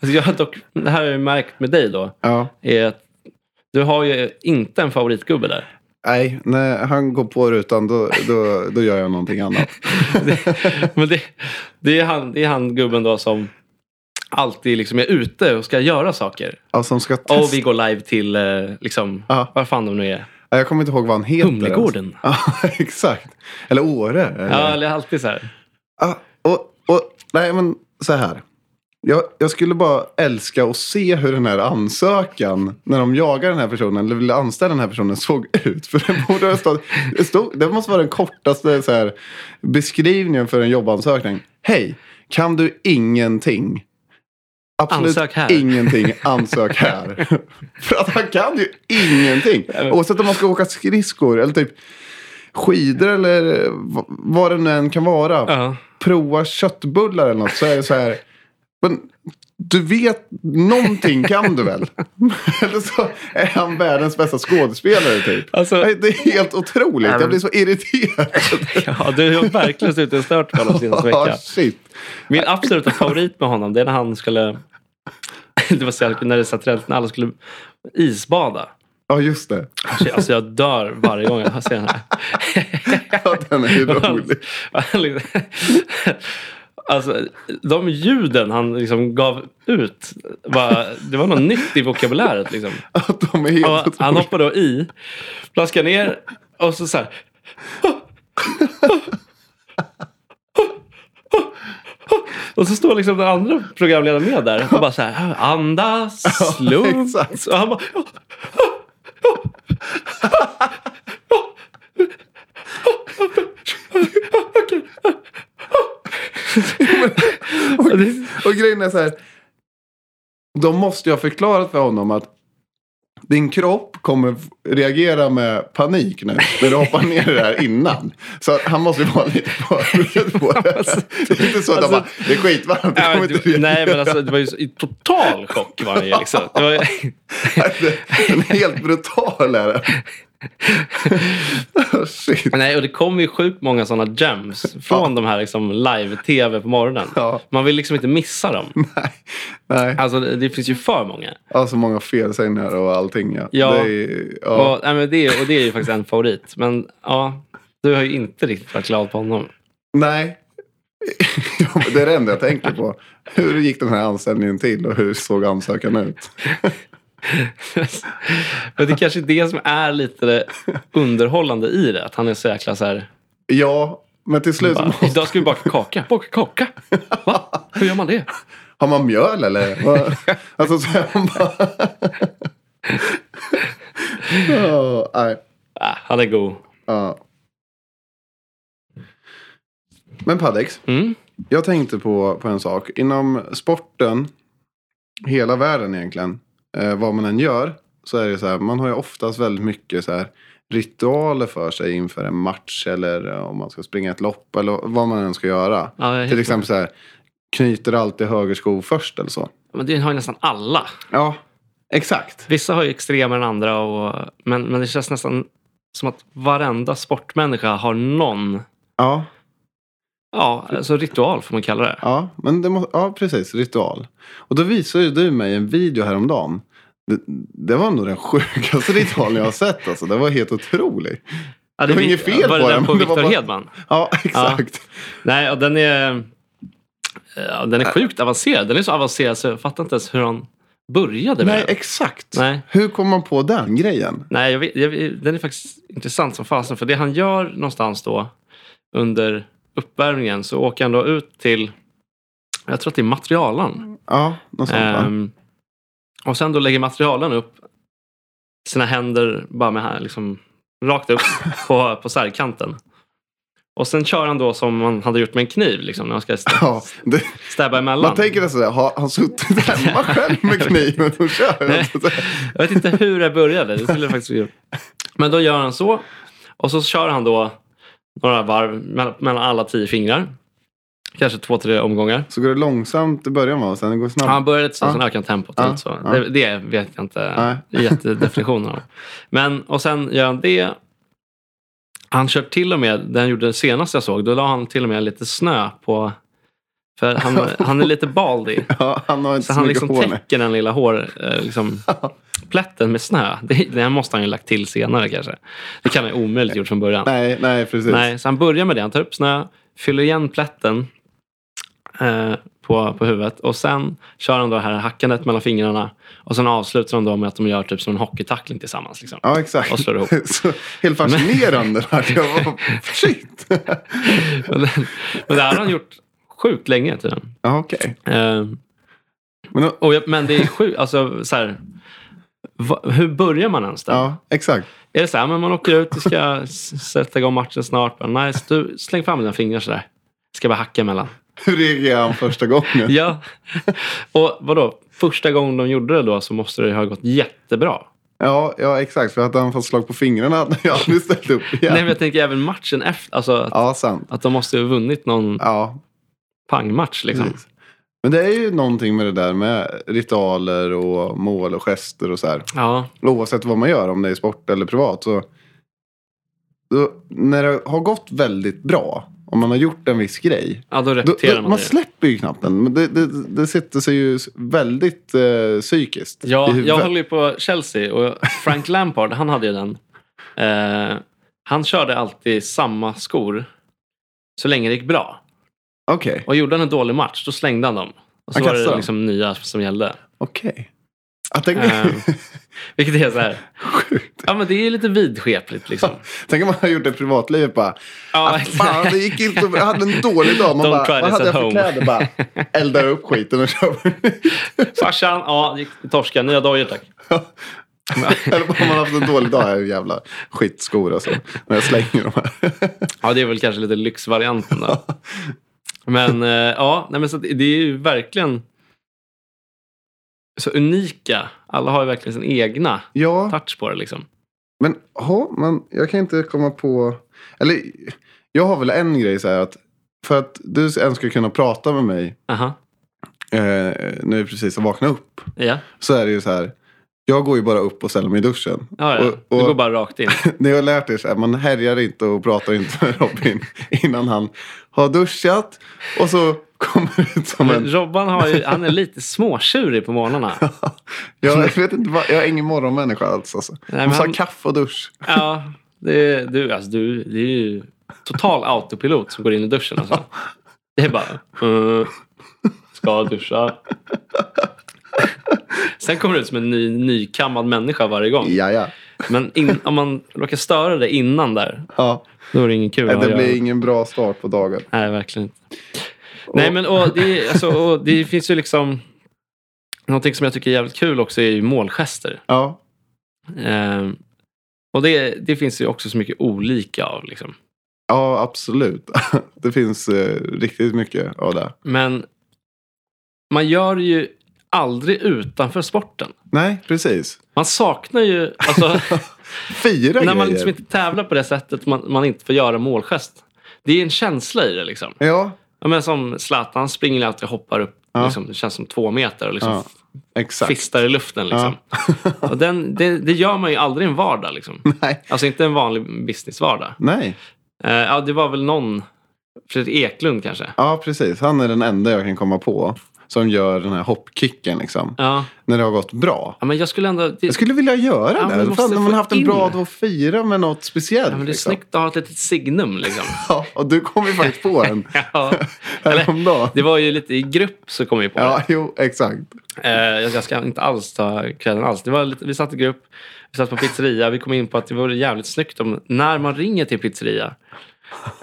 Speaker 1: jag har dock, det här har jag ju märkt med dig då.
Speaker 2: Ja.
Speaker 1: Är att du har ju inte en favoritgubbe där.
Speaker 2: Nej, när han går på rutan då, då, då gör jag någonting annat.
Speaker 1: Men det, det, är han, det är han gubben då som alltid liksom är ute och ska göra saker.
Speaker 2: Ja, som ska testa.
Speaker 1: Och vi går live till, eh, liksom,
Speaker 2: Ja.
Speaker 1: vad fan de nu är.
Speaker 2: Ja, Jag kommer inte ihåg vad han heter.
Speaker 1: Humlegården.
Speaker 2: ens. Ja, exakt. Eller Åre. eller-
Speaker 1: Ja, eller alltid så här.
Speaker 2: Ja, Ah, och, och, nej, men så här. Jag, jag skulle bara älska att se hur den här ansökan, när de jagar den här personen, eller ville anställa den här personen, såg ut. För det borde ha stått, det, stod, det måste vara den kortaste så här, beskrivningen för en jobbansökning. Hej, kan du ingenting? Absolut
Speaker 1: Ansök här.
Speaker 2: ingenting, ansök här. för att han kan ju ingenting. Oavsett om man ska åka skridskor eller typ skidor eller v- vad det nu än kan vara
Speaker 1: Ja.
Speaker 2: prova köttbullar eller något så är det så här. Men du vet, någonting kan du väl? eller så är han världens bästa skådespelare typ.
Speaker 1: Alltså-
Speaker 2: Nej, det är helt otroligt. Jag blir så irriterad.
Speaker 1: ja, du har verkligen suttit och stört på honom senaste
Speaker 2: Ja,
Speaker 1: veckan.
Speaker 2: shit.
Speaker 1: Min absoluta favorit med honom det är när han skulle... Det var så jävla kul, när det satt rent, när alla skulle isbada.
Speaker 2: Ja, just det.
Speaker 1: Shit, Alltså jag dör varje gång jag ser den här.
Speaker 2: Ja, den är ju rolig.
Speaker 1: rolig. Alltså, de ljuden han liksom gav ut, var, det var något nytt i vokabuläret. Liksom.
Speaker 2: Att de är helt
Speaker 1: Och han
Speaker 2: otroliga.
Speaker 1: hoppade då i, plaskade ner och så så här. Och så står liksom den andra programledaren med där och bara så här, andas, lugnt.
Speaker 2: exakt.
Speaker 1: och han bara... Och det-
Speaker 2: Och grejen är så här. De måste ju ha förklarat för honom att din kropp kommer f- reagera med panik nu när du hoppar ner i det här innan. Så att han måste ju vara lite förberedd på det. här. Det är inte så att han
Speaker 1: Alltså-
Speaker 2: bara, det är skitvarmt, det
Speaker 1: Ja,
Speaker 2: kommer inte
Speaker 1: det,
Speaker 2: reagera.
Speaker 1: nej, men alltså det var ju så- i total chock var han ju. Liksom. Det var, ju-
Speaker 2: Den är helt brutal är den. Oh, Shit.
Speaker 1: nej, och det kom ju sjukt många sådana gems från de här liksom, live-tv på morgonen.
Speaker 2: Ja.
Speaker 1: Man vill liksom inte missa dem.
Speaker 2: Nej, nej.
Speaker 1: Alltså det, det finns ju för många.
Speaker 2: Alltså många felsägningar och allting. Ja.
Speaker 1: Ja.
Speaker 2: Det är, ja.
Speaker 1: Och, nej, men det, är- och det är ju faktiskt en favorit. Men ja, du har ju inte riktigt varit glad på honom.
Speaker 2: Nej. Ja, men det är det enda jag tänker på. Hur gick den här anställningen till och hur såg ansökan ut?
Speaker 1: men det är kanske är det som är lite det underhållande i det. Att han är så jäkla så här.
Speaker 2: Ja, men till slut så
Speaker 1: Bara,
Speaker 2: måste...
Speaker 1: Idag ska vi baka kaka. Baka kaka? Va? Hur gör man det?
Speaker 2: Har man mjöl eller? Vad- alltså så är man bara... Ja, nej.
Speaker 1: Ah, han är god.
Speaker 2: ja. Men Padex,
Speaker 1: Mm.
Speaker 2: jag tänkte på, på en sak. Inom sporten, hela världen egentligen, eh, vad man än gör, så är det så här, man har ju oftast väldigt mycket så här ritualer för sig inför en match eller eh, om man ska springa ett lopp eller vad man än ska göra.
Speaker 1: Ja, jag-
Speaker 2: Till exempel så här, knyter alltid höger sko först eller så.
Speaker 1: Men det har ju nästan alla.
Speaker 2: Ja, exakt.
Speaker 1: Vissa har ju extremare än andra. Och, men, men det känns nästan som att varenda sportmänniska har någon
Speaker 2: Ja,
Speaker 1: ja, alltså ritual, får man kalla det.
Speaker 2: ja, men det må, ja precis. Ritual. Och då visade ju du mig en video häromdagen. Det, det var nog den sjukaste ritualen jag har sett. Alltså. Det var helt otroligt.
Speaker 1: Ja,
Speaker 2: det var inget fel
Speaker 1: var
Speaker 2: på
Speaker 1: det
Speaker 2: den,
Speaker 1: den på
Speaker 2: men det var
Speaker 1: Viktor
Speaker 2: bara-
Speaker 1: Hedman?
Speaker 2: Ja, exakt.
Speaker 1: Nej, och den är, ja, den är sjukt avancerad. Den är så avancerad så jag fattar inte ens hur han började med
Speaker 2: Nej,
Speaker 1: den.
Speaker 2: exakt.
Speaker 1: Nej.
Speaker 2: Hur kom man på den grejen?
Speaker 1: Nej, jag vet, jag, vet- den är faktiskt intressant som fasen. För det han gör någonstans då under uppvärmningen så åker han då ut till, jag tror att det är materialen.
Speaker 2: Ja, något sånt va?
Speaker 1: Ehm, och sen då lägger materialen upp sina händer bara med här, liksom, rakt upp på, på sargkanten. Och sen kör han då som man hade gjort med en kniv, liksom, när man ska st-
Speaker 2: Ja, det,
Speaker 1: stäbba emellan.
Speaker 2: man tänker det sådär, har han suttit hemma själv med kniven och kör?
Speaker 1: Nej. Jag vet inte hur det började. Det skulle jag faktiskt vilja- Men då gör han så. Och så kör han då några varv mellan- mellan alla tio fingrar. Kanske två, tre omgångar.
Speaker 2: Så går det långsamt i början va? Och sen går det snabbt?
Speaker 1: Han börjar lite så,
Speaker 2: Ja.
Speaker 1: sen ökar han tempot.
Speaker 2: Ja,
Speaker 1: lite Så.
Speaker 2: ja.
Speaker 1: Det, det vet jag inte
Speaker 2: Nej.
Speaker 1: jättedefinitionen av. Men, och sen gör han det. Han kör till och med, den gjorde det senaste jag såg, då la han till och med lite snö på... För han, han är lite baldy.
Speaker 2: Ja, han har inte
Speaker 1: Så
Speaker 2: så,
Speaker 1: han
Speaker 2: mycket
Speaker 1: liksom
Speaker 2: hår nu.
Speaker 1: täcker den lilla hår, eh, liksom, plätten med snö. Det, den måste han ju lagt till senare kanske. Det kan han ju omöjligt gjort från början.
Speaker 2: Nej, nej, precis.
Speaker 1: Nej, så han börjar med det. Han tar upp snö, fyller igen plätten eh, på, på huvudet och sen kör han då det här hackandet mellan fingrarna och sen avslutar de då med att de gör typ som en hockeytackling tillsammans. Liksom.
Speaker 2: Ja, exakt.
Speaker 1: Och slår ihop.
Speaker 2: Så, helt fascinerande. det här. Jag var, shit!
Speaker 1: Men, men det här har han gjort sjukt länge tydligen.
Speaker 2: Ja, okej.
Speaker 1: Eh,
Speaker 2: Men, då-
Speaker 1: och jag, men det är sjukt, alltså så här, va, hur börjar man ens där?
Speaker 2: ja, exakt.
Speaker 1: Är det så här, men man åker ut, vi ska s- sätta igång matchen snart. Men nice, du släng fram dina fingrar sådär. Ska bara hacka emellan.
Speaker 2: Hur reagerade han första gången?
Speaker 1: Ja. Och vadå, första gången de gjorde det då så måste det ju ha gått jättebra.
Speaker 2: Ja, ja exakt. För hade han fått slag på fingrarna hade jag aldrig ställt upp igen.
Speaker 1: Nej, men jag tänker även matchen efter. Alltså att,
Speaker 2: Ja, sant.
Speaker 1: att de måste ju ha vunnit någon
Speaker 2: Ja,
Speaker 1: pangmatch liksom.
Speaker 2: precis. Men det är ju någonting med det där med ritualer och mål och gester och så här.
Speaker 1: Ja,
Speaker 2: Oavsett vad man gör, om det är sport eller privat. Så, då, när det har gått väldigt bra, om man har gjort en viss grej.
Speaker 1: ja då
Speaker 2: Då,
Speaker 1: repeterar
Speaker 2: då,
Speaker 1: man
Speaker 2: man
Speaker 1: det.
Speaker 2: släpper ju knappt den. Men det, det, det sitter sig ju väldigt eh, psykiskt i
Speaker 1: Ja,
Speaker 2: huvudet.
Speaker 1: jag håller ju på Chelsea och Frank Lampard, han hade ju den. Eh, han körde alltid samma skor så länge det gick bra.
Speaker 2: Okej,
Speaker 1: Och gjorde han en dålig match, då slängde han dem. Och så
Speaker 2: Han
Speaker 1: var
Speaker 2: kastade
Speaker 1: det
Speaker 2: dem.
Speaker 1: liksom nya som gällde.
Speaker 2: okej. Jag tänkte-
Speaker 1: Eh, vilket är så här... Ja, men det är lite vidskepligt liksom.
Speaker 2: Tänk om man har gjort ett privatliv bara.
Speaker 1: Ja,
Speaker 2: Ah, fan, det gick inte så bra. Jag hade en dålig dag. Man
Speaker 1: Don't try
Speaker 2: bara, vad
Speaker 1: this
Speaker 2: hade
Speaker 1: at
Speaker 2: jag för
Speaker 1: home."
Speaker 2: kläder? Bara eldar upp skiten och kör.
Speaker 1: Farsan, ja, det gick- torska. Nya dojor tack.
Speaker 2: Eller bara om man har haft en dålig dag. Här, jävla skitskor alltså. När jag slänger dem här.
Speaker 1: Ja, det är väl kanske lite lyxvarianten där. Men eh, ja, nej, men så att det är ju verkligen så unika. Alla har ju verkligen sin egna
Speaker 2: Ja,
Speaker 1: touch på det liksom.
Speaker 2: men ha, man, jag kan inte komma på... Eller jag har väl en grej så här att. För att du ens ska kunna prata med mig.
Speaker 1: Aha,
Speaker 2: Eh, när vi precis har vaknat upp.
Speaker 1: ja.
Speaker 2: Så är det ju så här. Jag går ju bara upp och ställer mig i duschen.
Speaker 1: ja, ja.
Speaker 2: Och- och-
Speaker 1: Du går bara rakt in.
Speaker 2: Ni har lärt er så här, man härjar inte och pratar inte med Robin innan han har duschat. Och så kommer det ut som en...
Speaker 1: Robban har ju, han är lite småtjurig på morgnarna.
Speaker 2: Jag vet inte, vad- jag är ingen morgonmänniska alls. Alltså.
Speaker 1: men
Speaker 2: Hon sa
Speaker 1: han-
Speaker 2: kaffe och dusch.
Speaker 1: Ja, det är, du, alltså, du, det är ju total autopilot som går in i duschen. Alltså. Det är bara... Uh, ska duscha. Sen kommer du ut som en ny, nykammad människa varje gång.
Speaker 2: Ja, ja.
Speaker 1: Men in, om man råkar störa det innan där,
Speaker 2: ja.
Speaker 1: då är det ingen kul. att
Speaker 2: Det
Speaker 1: göra.
Speaker 2: blir ingen bra start på dagen.
Speaker 1: Nej, verkligen inte. Nej, men och det, är- alltså, och det finns ju liksom... Någonting som jag tycker är jävligt kul också är ju målgester.
Speaker 2: Ja,
Speaker 1: Eh, och det, det finns ju också så mycket olika av. Liksom.
Speaker 2: ja absolut. Det finns eh, riktigt mycket av det.
Speaker 1: Men man gör det ju aldrig utanför sporten.
Speaker 2: Nej, precis.
Speaker 1: Man saknar ju... Alltså,
Speaker 2: Fyra
Speaker 1: när man
Speaker 2: grejer.
Speaker 1: liksom inte tävlar på det sättet man, man inte får göra målgest. Det är en känsla i det. liksom.
Speaker 2: Ja,
Speaker 1: Ja, men som Zlatan han springer alltid och hoppar upp.
Speaker 2: Ja.
Speaker 1: Liksom, det känns som två meter och liksom
Speaker 2: Ja, exakt.
Speaker 1: fistar i luften. Liksom. och den, det, det gör man ju aldrig i en vardag. Liksom.
Speaker 2: Nej.
Speaker 1: Alltså inte en vanlig businessvardag.
Speaker 2: Nej,
Speaker 1: Eh, ja, det var väl någon, Fredrik Eklund kanske.
Speaker 2: ja precis. Han är den enda jag kan komma på som gör den här hoppkicken liksom.
Speaker 1: Ja.
Speaker 2: När det har gått bra.
Speaker 1: ja, men jag skulle ändå... Det,
Speaker 2: Jag skulle vilja göra
Speaker 1: Ja, men
Speaker 2: det.
Speaker 1: vi
Speaker 2: Fan,
Speaker 1: måste
Speaker 2: när
Speaker 1: få
Speaker 2: man haft en
Speaker 1: in
Speaker 2: bra
Speaker 1: det.
Speaker 2: dag att fira med något speciellt.
Speaker 1: ja, men det är
Speaker 2: liksom.
Speaker 1: snyggt att ha ett litet signum. Liksom.
Speaker 2: Ja, och du kom ju faktiskt på en
Speaker 1: ja. Eller,
Speaker 2: häromdagen.
Speaker 1: det var ju lite i grupp så kom vi på
Speaker 2: Ja, jo, exakt.
Speaker 1: Eh, jag jag ska inte alls ta credden alls. Det var lite, vi satt i grupp, vi satt på pizzeria. Vi kom in på att det vore jävligt snyggt om när man ringer till pizzeria.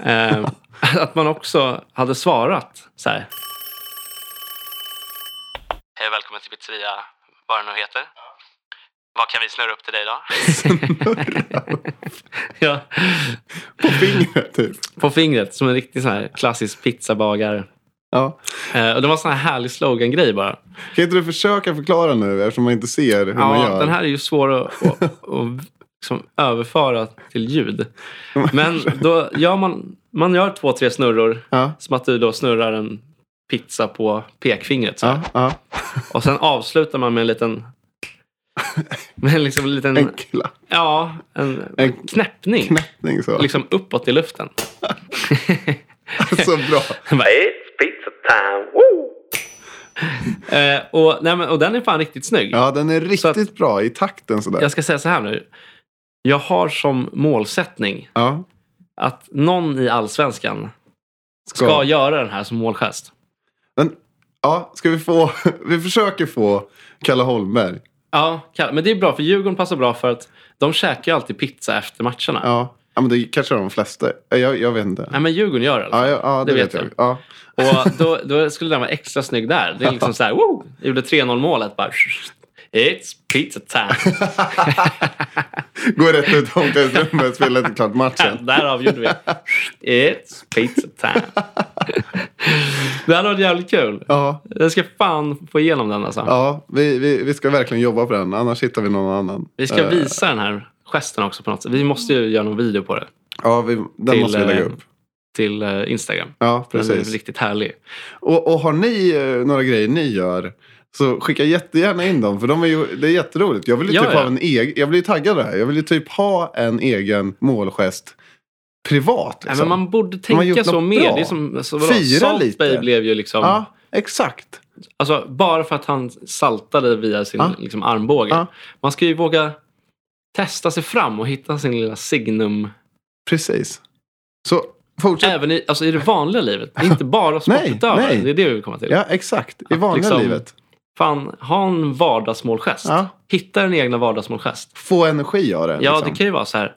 Speaker 1: Eh, att man också hade svarat så här. Hej välkommen till pizzeria, vad det nu heter. Vad kan vi snurra upp till dig då? ja,
Speaker 2: På fingret, typ.
Speaker 1: på fingret, som en riktig så här klassisk pizzabagare.
Speaker 2: Ja.
Speaker 1: Eh, och det var en sån här härlig slogan-grej bara.
Speaker 2: Kan inte du försöka förklara nu, eftersom man inte ser hur man
Speaker 1: Ja,
Speaker 2: gör?
Speaker 1: den här är ju svår att, att, att liksom överföra till ljud. Men då gör man, man gör två, tre snurror.
Speaker 2: Ja,
Speaker 1: Som att du då snurrar en pizza på pekfingret. Så här.
Speaker 2: ja, ja.
Speaker 1: Och sen avslutar man med en liten... Men liksom en liten...
Speaker 2: En kla-
Speaker 1: Ja, en,
Speaker 2: En
Speaker 1: knäppning.
Speaker 2: knäppning så.
Speaker 1: Liksom uppåt i luften.
Speaker 2: Så bra.
Speaker 1: Han bara, It's pizza time! Woo! Eh, och, nej, men, och den är fan riktigt snygg.
Speaker 2: Ja, den är
Speaker 1: Så att-
Speaker 2: riktigt bra i takten sådär.
Speaker 1: Jag ska säga så här nu. Jag har som målsättning
Speaker 2: Ja,
Speaker 1: att någon i allsvenskan ska göra den här som målgest.
Speaker 2: Men, ja, ska vi få... Vi försöker få Kalle Holmberg.
Speaker 1: Ja, Kalle, men det är bra för Djurgården passar bra för att de käkar ju alltid pizza efter matcherna.
Speaker 2: Ja, ja men det kanske är de flesta. Ja, Jag, jag vet inte.
Speaker 1: Nej, men Djurgården gör det. i alla
Speaker 2: Ja,
Speaker 1: fall.
Speaker 2: ja, ja det, vet jag. Ja.
Speaker 1: Och då, då skulle den vara extra snygg där. Det är liksom så här, wow! Jag gjorde 3-0 målet bara. It's pizza time!
Speaker 2: Gå rätt ut om det rummet spela inte klart matchen.
Speaker 1: Där avgjorde vi. It's pizza time! Det hade varit jävligt kul.
Speaker 2: Ja,
Speaker 1: Jag ska fan få igenom den alltså.
Speaker 2: ja vi, vi, vi ska verkligen jobba på den. Annars hittar vi någon annan.
Speaker 1: Vi ska
Speaker 2: Eh,
Speaker 1: visa den här gesten också på något sätt. Vi måste ju göra någon video på det
Speaker 2: Eh, Ja, vi, den
Speaker 1: till,
Speaker 2: måste vi lägga
Speaker 1: eh,
Speaker 2: upp.
Speaker 1: till eh, Instagram.
Speaker 2: Ja,
Speaker 1: Den är
Speaker 2: precis.
Speaker 1: riktigt härlig.
Speaker 2: Och, och har ni eh, några grejer ni gör så skicka jättegärna in dem för de är ju, det är jätteroligt. Jag vill ju
Speaker 1: Ja,
Speaker 2: typ
Speaker 1: ja.
Speaker 2: ha en egen, jag blir ju taggad av det här. Jag vill ju typ ha en egen målgest privat.
Speaker 1: Nej,
Speaker 2: Liksom.
Speaker 1: men man borde tänka
Speaker 2: gjort något
Speaker 1: så mer.
Speaker 2: bra.
Speaker 1: Det är som, så
Speaker 2: Fira
Speaker 1: Salt
Speaker 2: lite.
Speaker 1: Bay blev ju liksom...
Speaker 2: Ja, exakt.
Speaker 1: Alltså, bara för att han saltade via sin
Speaker 2: Ja.
Speaker 1: liksom, armbåge.
Speaker 2: Ja.
Speaker 1: Man ska ju våga testa sig fram och hitta sin lilla signum.
Speaker 2: Precis. Så fortsätt.
Speaker 1: Även i, alltså, i det vanliga livet. Inte bara
Speaker 2: Nej,
Speaker 1: sportutövare.
Speaker 2: nej.
Speaker 1: Det är det vi vill komma till.
Speaker 2: Ja, exakt. I vanliga
Speaker 1: liksom-
Speaker 2: livet.
Speaker 1: Fan, ha en vardagsmålgest.
Speaker 2: Ja.
Speaker 1: Hitta din egna vardagsmålgest.
Speaker 2: Få energi av det.
Speaker 1: Ja,
Speaker 2: liksom.
Speaker 1: det kan ju vara så här.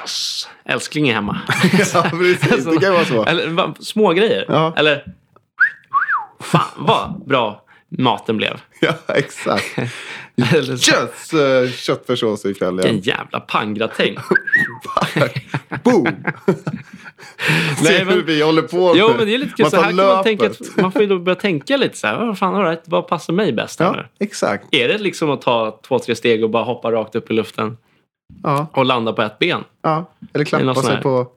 Speaker 1: Yes! Älskling är hemma. Alltså,
Speaker 2: ja, precis. Det kan ju vara så.
Speaker 1: Eller va, små grejer.
Speaker 2: Ja.
Speaker 1: Eller fan vad bra maten blev.
Speaker 2: Ja, exakt.
Speaker 1: Eller så,
Speaker 2: Kötts, eh, köttfärssås ikväll.
Speaker 1: en
Speaker 2: igen.
Speaker 1: jävla panggratäng.
Speaker 2: Boom!
Speaker 1: Nej,
Speaker 2: Se
Speaker 1: men-
Speaker 2: hur vi håller på.
Speaker 1: Jo,
Speaker 2: nu.
Speaker 1: men det är lite kul.
Speaker 2: Man
Speaker 1: Så
Speaker 2: tar
Speaker 1: här kan man, tänka
Speaker 2: löpet.
Speaker 1: att man får ju då börja tänka lite så här. Vad fan, all right, vad passar mig bäst här
Speaker 2: Ja, exakt.
Speaker 1: nu? Är det liksom att ta två, tre steg och bara hoppa rakt upp i luften
Speaker 2: Ja,
Speaker 1: och landa på ett ben?
Speaker 2: ja. Eller
Speaker 1: Det är någon
Speaker 2: klappa
Speaker 1: sån
Speaker 2: sig
Speaker 1: här-
Speaker 2: på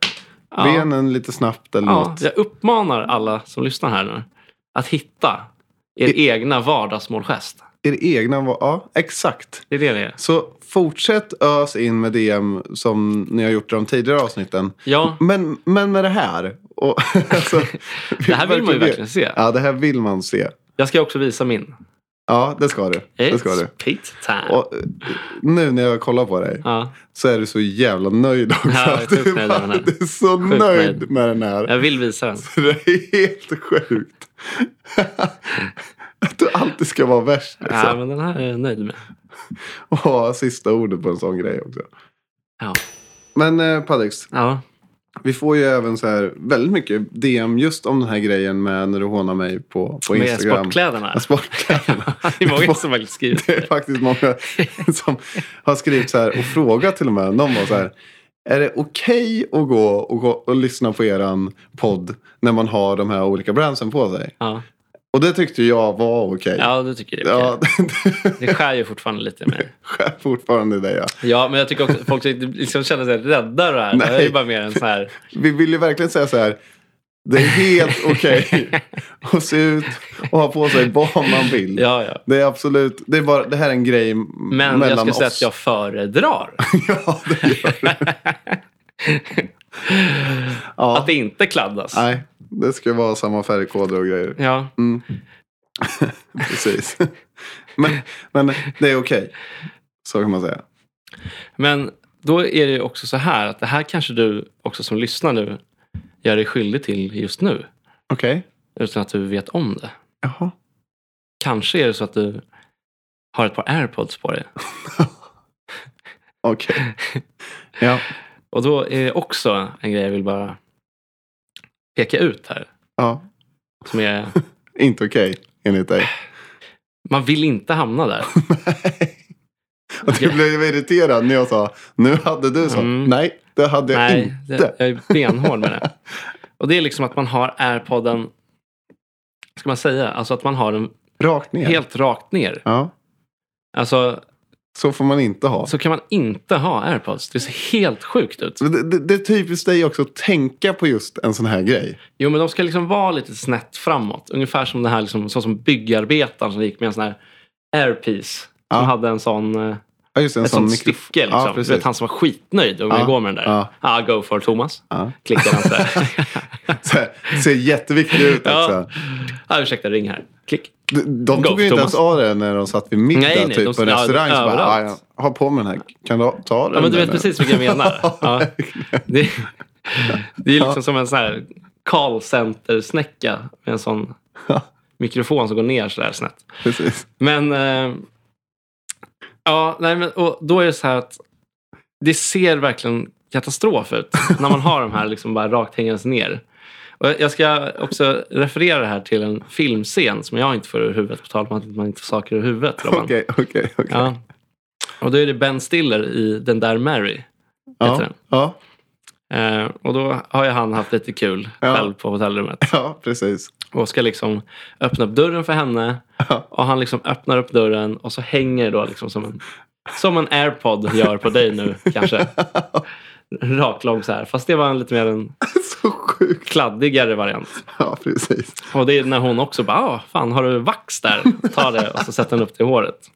Speaker 1: Ja.
Speaker 2: benen lite snabbt eller
Speaker 1: Ja,
Speaker 2: något.
Speaker 1: jag uppmanar alla som lyssnar här nu att hitta er egna vardagsmålgest.
Speaker 2: Er egna var... Ja, exakt.
Speaker 1: Det är det det är.
Speaker 2: Så fortsätt ös in med DM som ni har gjort i de tidigare avsnitten.
Speaker 1: Ja,
Speaker 2: Men, men med det här. Och, alltså,
Speaker 1: det här vill man ju verkligen se.
Speaker 2: Ja, det här vill man se.
Speaker 1: Jag ska också visa min.
Speaker 2: Ja, det ska du. Det ska du.
Speaker 1: It's pizza time.
Speaker 2: Och eh, nu när jag kollar på dig
Speaker 1: Ja,
Speaker 2: så är du så jävla nöjd också.
Speaker 1: Ja, jag är sjukt
Speaker 2: du,
Speaker 1: nöjd med den här.
Speaker 2: du är så
Speaker 1: Sjukt
Speaker 2: nöjd
Speaker 1: nöjd.
Speaker 2: med den här.
Speaker 1: jag vill visa den.
Speaker 2: Det är helt sjukt. Att du alltid ska vara värst. Liksom.
Speaker 1: Ja, men den här är jag nöjd med.
Speaker 2: Och ha sista ordet på en sån grej också.
Speaker 1: Ja.
Speaker 2: Men eh, Paddix,
Speaker 1: Ja.
Speaker 2: vi får ju även så här väldigt mycket DM just om den här grejen med när du hånar mig på, på
Speaker 1: Med
Speaker 2: Instagram.
Speaker 1: sportkläderna.
Speaker 2: Ja, sportkläderna.
Speaker 1: det är många som faktiskt skriver
Speaker 2: Det är faktiskt många som har skrivit så här och frågat till och med. Någon var så här. Är det okej att gå och, gå och lyssna på eran podd när man har de här olika brandsen på sig?
Speaker 1: Ja.
Speaker 2: Och det tyckte jag var okej.
Speaker 1: ja, du tycker det är okej.
Speaker 2: Ja, det
Speaker 1: Det skär ju fortfarande lite i mig.
Speaker 2: skär fortfarande i det ja.
Speaker 1: Ja, men jag tycker också att folk liksom känner sig rädda av det här.
Speaker 2: Nej.
Speaker 1: Det är ju bara mer en så här...
Speaker 2: Vi vill ju verkligen säga så här. Det är helt okej att se ut och ha på sig vad man vill.
Speaker 1: Ja, ja.
Speaker 2: Det är absolut, det, är bara, det här är en grej m-
Speaker 1: Men
Speaker 2: mellan
Speaker 1: jag skulle
Speaker 2: oss.
Speaker 1: säga att jag föredrar
Speaker 2: ja, det gör det. ja,
Speaker 1: att det inte kladdas.
Speaker 2: nej, det ska vara samma färgkoder och grejer.
Speaker 1: Ja.
Speaker 2: Precis. men, men det är okej. Så kan man säga.
Speaker 1: Men då är det ju också så här att det här kanske du också som lyssnar nu gör dig skyldig till just nu.
Speaker 2: Okej.
Speaker 1: Utan att du vet om det.
Speaker 2: Jaha.
Speaker 1: Kanske är det så att du har ett par airpods på dig.
Speaker 2: Okej. Ja.
Speaker 1: Och då är det också en grej jag vill bara peka ut här.
Speaker 2: ja.
Speaker 1: Som är,
Speaker 2: Inte okej enligt dig.
Speaker 1: man vill inte hamna där.
Speaker 2: Och du blev irriterad när jag sa nu hade du så.
Speaker 1: Mm.
Speaker 2: Nej, det hade jag
Speaker 1: Nej,
Speaker 2: inte.
Speaker 1: det, jag är benhård med det. Och det är liksom att man har airpodden, vad ska man säga, alltså att man har den
Speaker 2: Rakt ner.
Speaker 1: helt rakt ner.
Speaker 2: Ja,
Speaker 1: Alltså,
Speaker 2: så får man inte ha.
Speaker 1: så kan man inte ha airpods. Det ser helt sjukt ut.
Speaker 2: Men Det, det, det är typiskt dig också att tänka på just en sån här grej.
Speaker 1: Jo, men de ska liksom vara lite snett framåt. Ungefär som den här, liksom, så som byggarbetaren som gick med en sån här airpiece. Som
Speaker 2: Ja.
Speaker 1: hade en sån, eh,
Speaker 2: Ja, just det, en
Speaker 1: ett
Speaker 2: sån
Speaker 1: sånt
Speaker 2: mikro-
Speaker 1: stycke. Liksom.
Speaker 2: Ja,
Speaker 1: du vet,
Speaker 2: precis.
Speaker 1: han som var skitnöjd om
Speaker 2: Ja,
Speaker 1: vi går med den där.
Speaker 2: ja.
Speaker 1: Ah, go for Thomas.
Speaker 2: Ja.
Speaker 1: Klickar han så här.
Speaker 2: Så här, ser jätteviktig ut
Speaker 1: Ja.
Speaker 2: också.
Speaker 1: ah, ursäkta, ring här. Klick.
Speaker 2: De, de
Speaker 1: Go,
Speaker 2: tog ju inte
Speaker 1: Thomas.
Speaker 2: ens av det när de satt vid middag
Speaker 1: Nej, nej,
Speaker 2: typ,
Speaker 1: de-
Speaker 2: på en
Speaker 1: ja,
Speaker 2: restaurang. så bara, ah,
Speaker 1: överallt.
Speaker 2: ja, ha på mig den här. Kan du ta den?
Speaker 1: Ja, men du vet
Speaker 2: eller?
Speaker 1: precis vilken jag menar. Ja. Det, det är liksom som en sån här callcenter-snäcka med en sån
Speaker 2: Ja.
Speaker 1: mikrofon som går ner så där snett.
Speaker 2: precis.
Speaker 1: Men, eh, ja, nej, men och då är det så här att det ser verkligen katastrof ut när man har de här liksom bara rakt hängandes ner. Och jag ska också referera det här till en filmscen som jag inte får ur huvudet på tal om att man inte får saker ur huvudet. Robban.
Speaker 2: Okej, okej, okej.
Speaker 1: Ja. Och då är det Ben Stiller i Den där Mary. heter
Speaker 2: Ja,
Speaker 1: den.
Speaker 2: ja,
Speaker 1: Eh, och då har ju han haft lite kul
Speaker 2: Ja.
Speaker 1: själv på hotellrummet.
Speaker 2: ja, precis.
Speaker 1: Och ska liksom öppna upp dörren för henne.
Speaker 2: Ja.
Speaker 1: Och han liksom öppnar upp dörren och så hänger då liksom som en, som en airpod gör på dig nu kanske. Raklång så här. Fast det var en lite mer en
Speaker 2: Så sjukt.
Speaker 1: kladdigare variant.
Speaker 2: Ja, precis.
Speaker 1: Och det är när hon också bara, ah, fan har du vax där? Ta det och så sätter hon upp det i håret.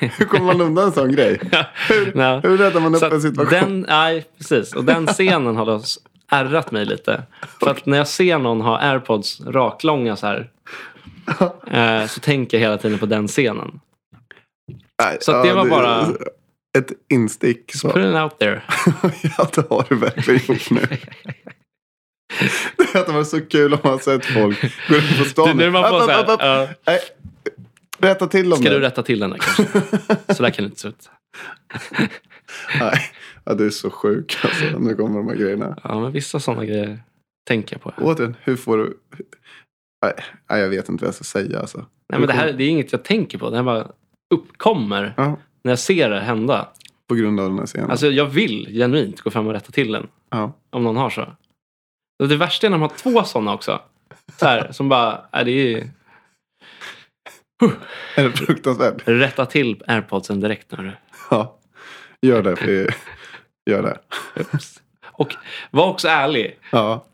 Speaker 2: Hur kommer man undan en sån grej?
Speaker 1: Ja.
Speaker 2: Hur räddar man upp
Speaker 1: Så
Speaker 2: en
Speaker 1: att
Speaker 2: situation?
Speaker 1: den, nej, precis. Och den scenen har då s- ärrat mig lite. För att när jag ser någon ha airpods raklånga så här eh, så tänker jag hela tiden på den scenen.
Speaker 2: Nej,
Speaker 1: så att det var bara-
Speaker 2: Ett instick. Så.
Speaker 1: Put it out there.
Speaker 2: ja, det har du verkligen gjort nu. Det hade varit så kul om man har sett folk gå runt på
Speaker 1: Du,
Speaker 2: stan.
Speaker 1: nu är man
Speaker 2: App,
Speaker 1: bara så
Speaker 2: app, app, app.
Speaker 1: här, ja,
Speaker 2: Nej, Rätta till dem
Speaker 1: ska
Speaker 2: nu.
Speaker 1: du rätta till den där kanske? Så där kan det inte se ut.
Speaker 2: Nej, ja, du är så sjuk alltså. Nu kommer de här grejerna.
Speaker 1: Ja, men vissa sådana grejer tänker jag på.
Speaker 2: Återigen, hur får du... Nej, nej, jag vet inte vad jag ska säga alltså.
Speaker 1: Nej, men det här det är inget jag tänker på. Det här bara uppkommer
Speaker 2: Ja,
Speaker 1: när jag ser det hända.
Speaker 2: på grund av den här scenen.
Speaker 1: Alltså jag vill genuint gå fram och rätta till den.
Speaker 2: ja.
Speaker 1: Om någon har så. Och det värsta är när de har två sådana också. Så här, som bara, är det är ju
Speaker 2: Är det fruktansvärt?
Speaker 1: rätta till airpodsen direkt nu.
Speaker 2: Ja. Gör det. för det- Gör det.
Speaker 1: Ups. Och var också ärlig.
Speaker 2: Ja.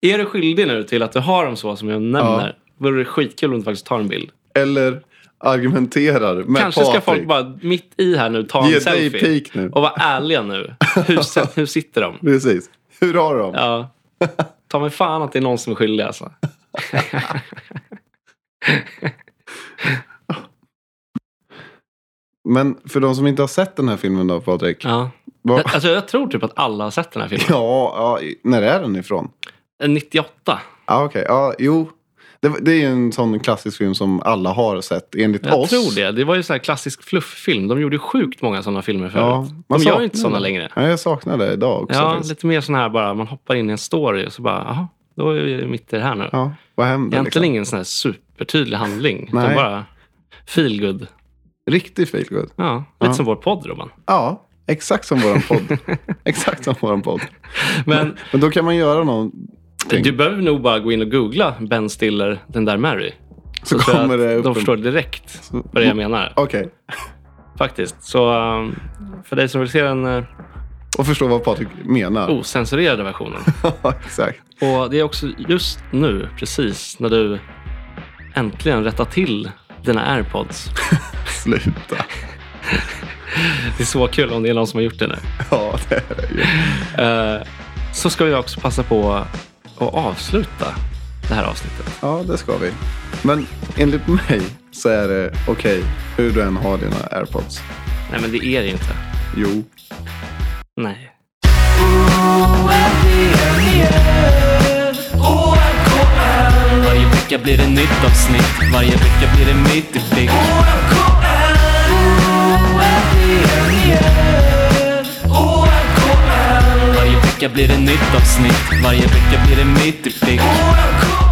Speaker 1: Är du skyldig nu till att du har dem så som jag nämner, vore det skitkul om du faktiskt tar en bild.
Speaker 2: Eller argumenterar med
Speaker 1: Kanske ska
Speaker 2: Patrik.
Speaker 1: folk bara mitt i här nu ta en
Speaker 2: Ge dig
Speaker 1: selfie.
Speaker 2: pik nu.
Speaker 1: Och vara ärliga nu. Hur, hur sitter de?
Speaker 2: Precis. Hur har de?
Speaker 1: Ja. Ta mig fan att det är någon som är skyldig alltså.
Speaker 2: Men för de som inte har sett den här filmen då, Patrik.
Speaker 1: Ja.
Speaker 2: vad-
Speaker 1: Alltså, jag tror typ att alla har sett den här filmen. Eh,
Speaker 2: Ja, ja, i- när är den ifrån?
Speaker 1: 98.
Speaker 2: Ja, okej. Ja, jo. Det, det är ju en sån klassisk film som alla har sett, enligt
Speaker 1: Jag
Speaker 2: oss.
Speaker 1: tror det. Det var ju så här klassisk flufffilm. De gjorde ju sjukt många sådana filmer
Speaker 2: Ja,
Speaker 1: förut.
Speaker 2: man
Speaker 1: De gör
Speaker 2: saknar
Speaker 1: ju inte sådana
Speaker 2: det.
Speaker 1: längre.
Speaker 2: Ja, jag saknar det idag också.
Speaker 1: Ja,
Speaker 2: faktiskt.
Speaker 1: lite mer sån här bara, man hoppar in i en story och så bara, jaha, då är vi mitt i det här nu.
Speaker 2: ja, vad händer?
Speaker 1: Egentligen
Speaker 2: Liksom?
Speaker 1: ingen sån här supertydlig handling, utan
Speaker 2: Nej.
Speaker 1: bara feel good.
Speaker 2: Riktig feelgood.
Speaker 1: Ja, lite som vår podd, Robban.
Speaker 2: Ja, exakt som våran podd. exakt som våran podd.
Speaker 1: Men
Speaker 2: Men då kan man göra någon
Speaker 1: du behöver nog bara gå in och googla Ben Stiller, den där Mary.
Speaker 2: Så
Speaker 1: tror jag
Speaker 2: kommer
Speaker 1: att
Speaker 2: det upp
Speaker 1: De
Speaker 2: en-
Speaker 1: förstår direkt vad det är jag menar,
Speaker 2: Okej.
Speaker 1: faktiskt. Så um, för dig som vill se den eh,
Speaker 2: Och förstå vad Patrik
Speaker 1: Oh.
Speaker 2: menar.
Speaker 1: ocensurerade versionen.
Speaker 2: Ja, Exakt.
Speaker 1: Och det är också just nu, precis när du äntligen rättar till dina airpods.
Speaker 2: Sluta.
Speaker 1: Det är så kul om det är någon som har gjort det nu.
Speaker 2: Ja, det är det ju.
Speaker 1: Eh, Så ska vi också passa på att avsluta det här avsnittet.
Speaker 2: Ja, det ska vi. Men enligt mig så är det okej hur du än har dina airpods.
Speaker 1: Nej, men det är det ju inte.
Speaker 2: Jo.
Speaker 1: Nej.
Speaker 3: Varje vecka blir det nytt avsnitt, varje vecka blir det mitt i prick Varje vecka blir det nytt avsnitt, varje vecka blir det mitt i prick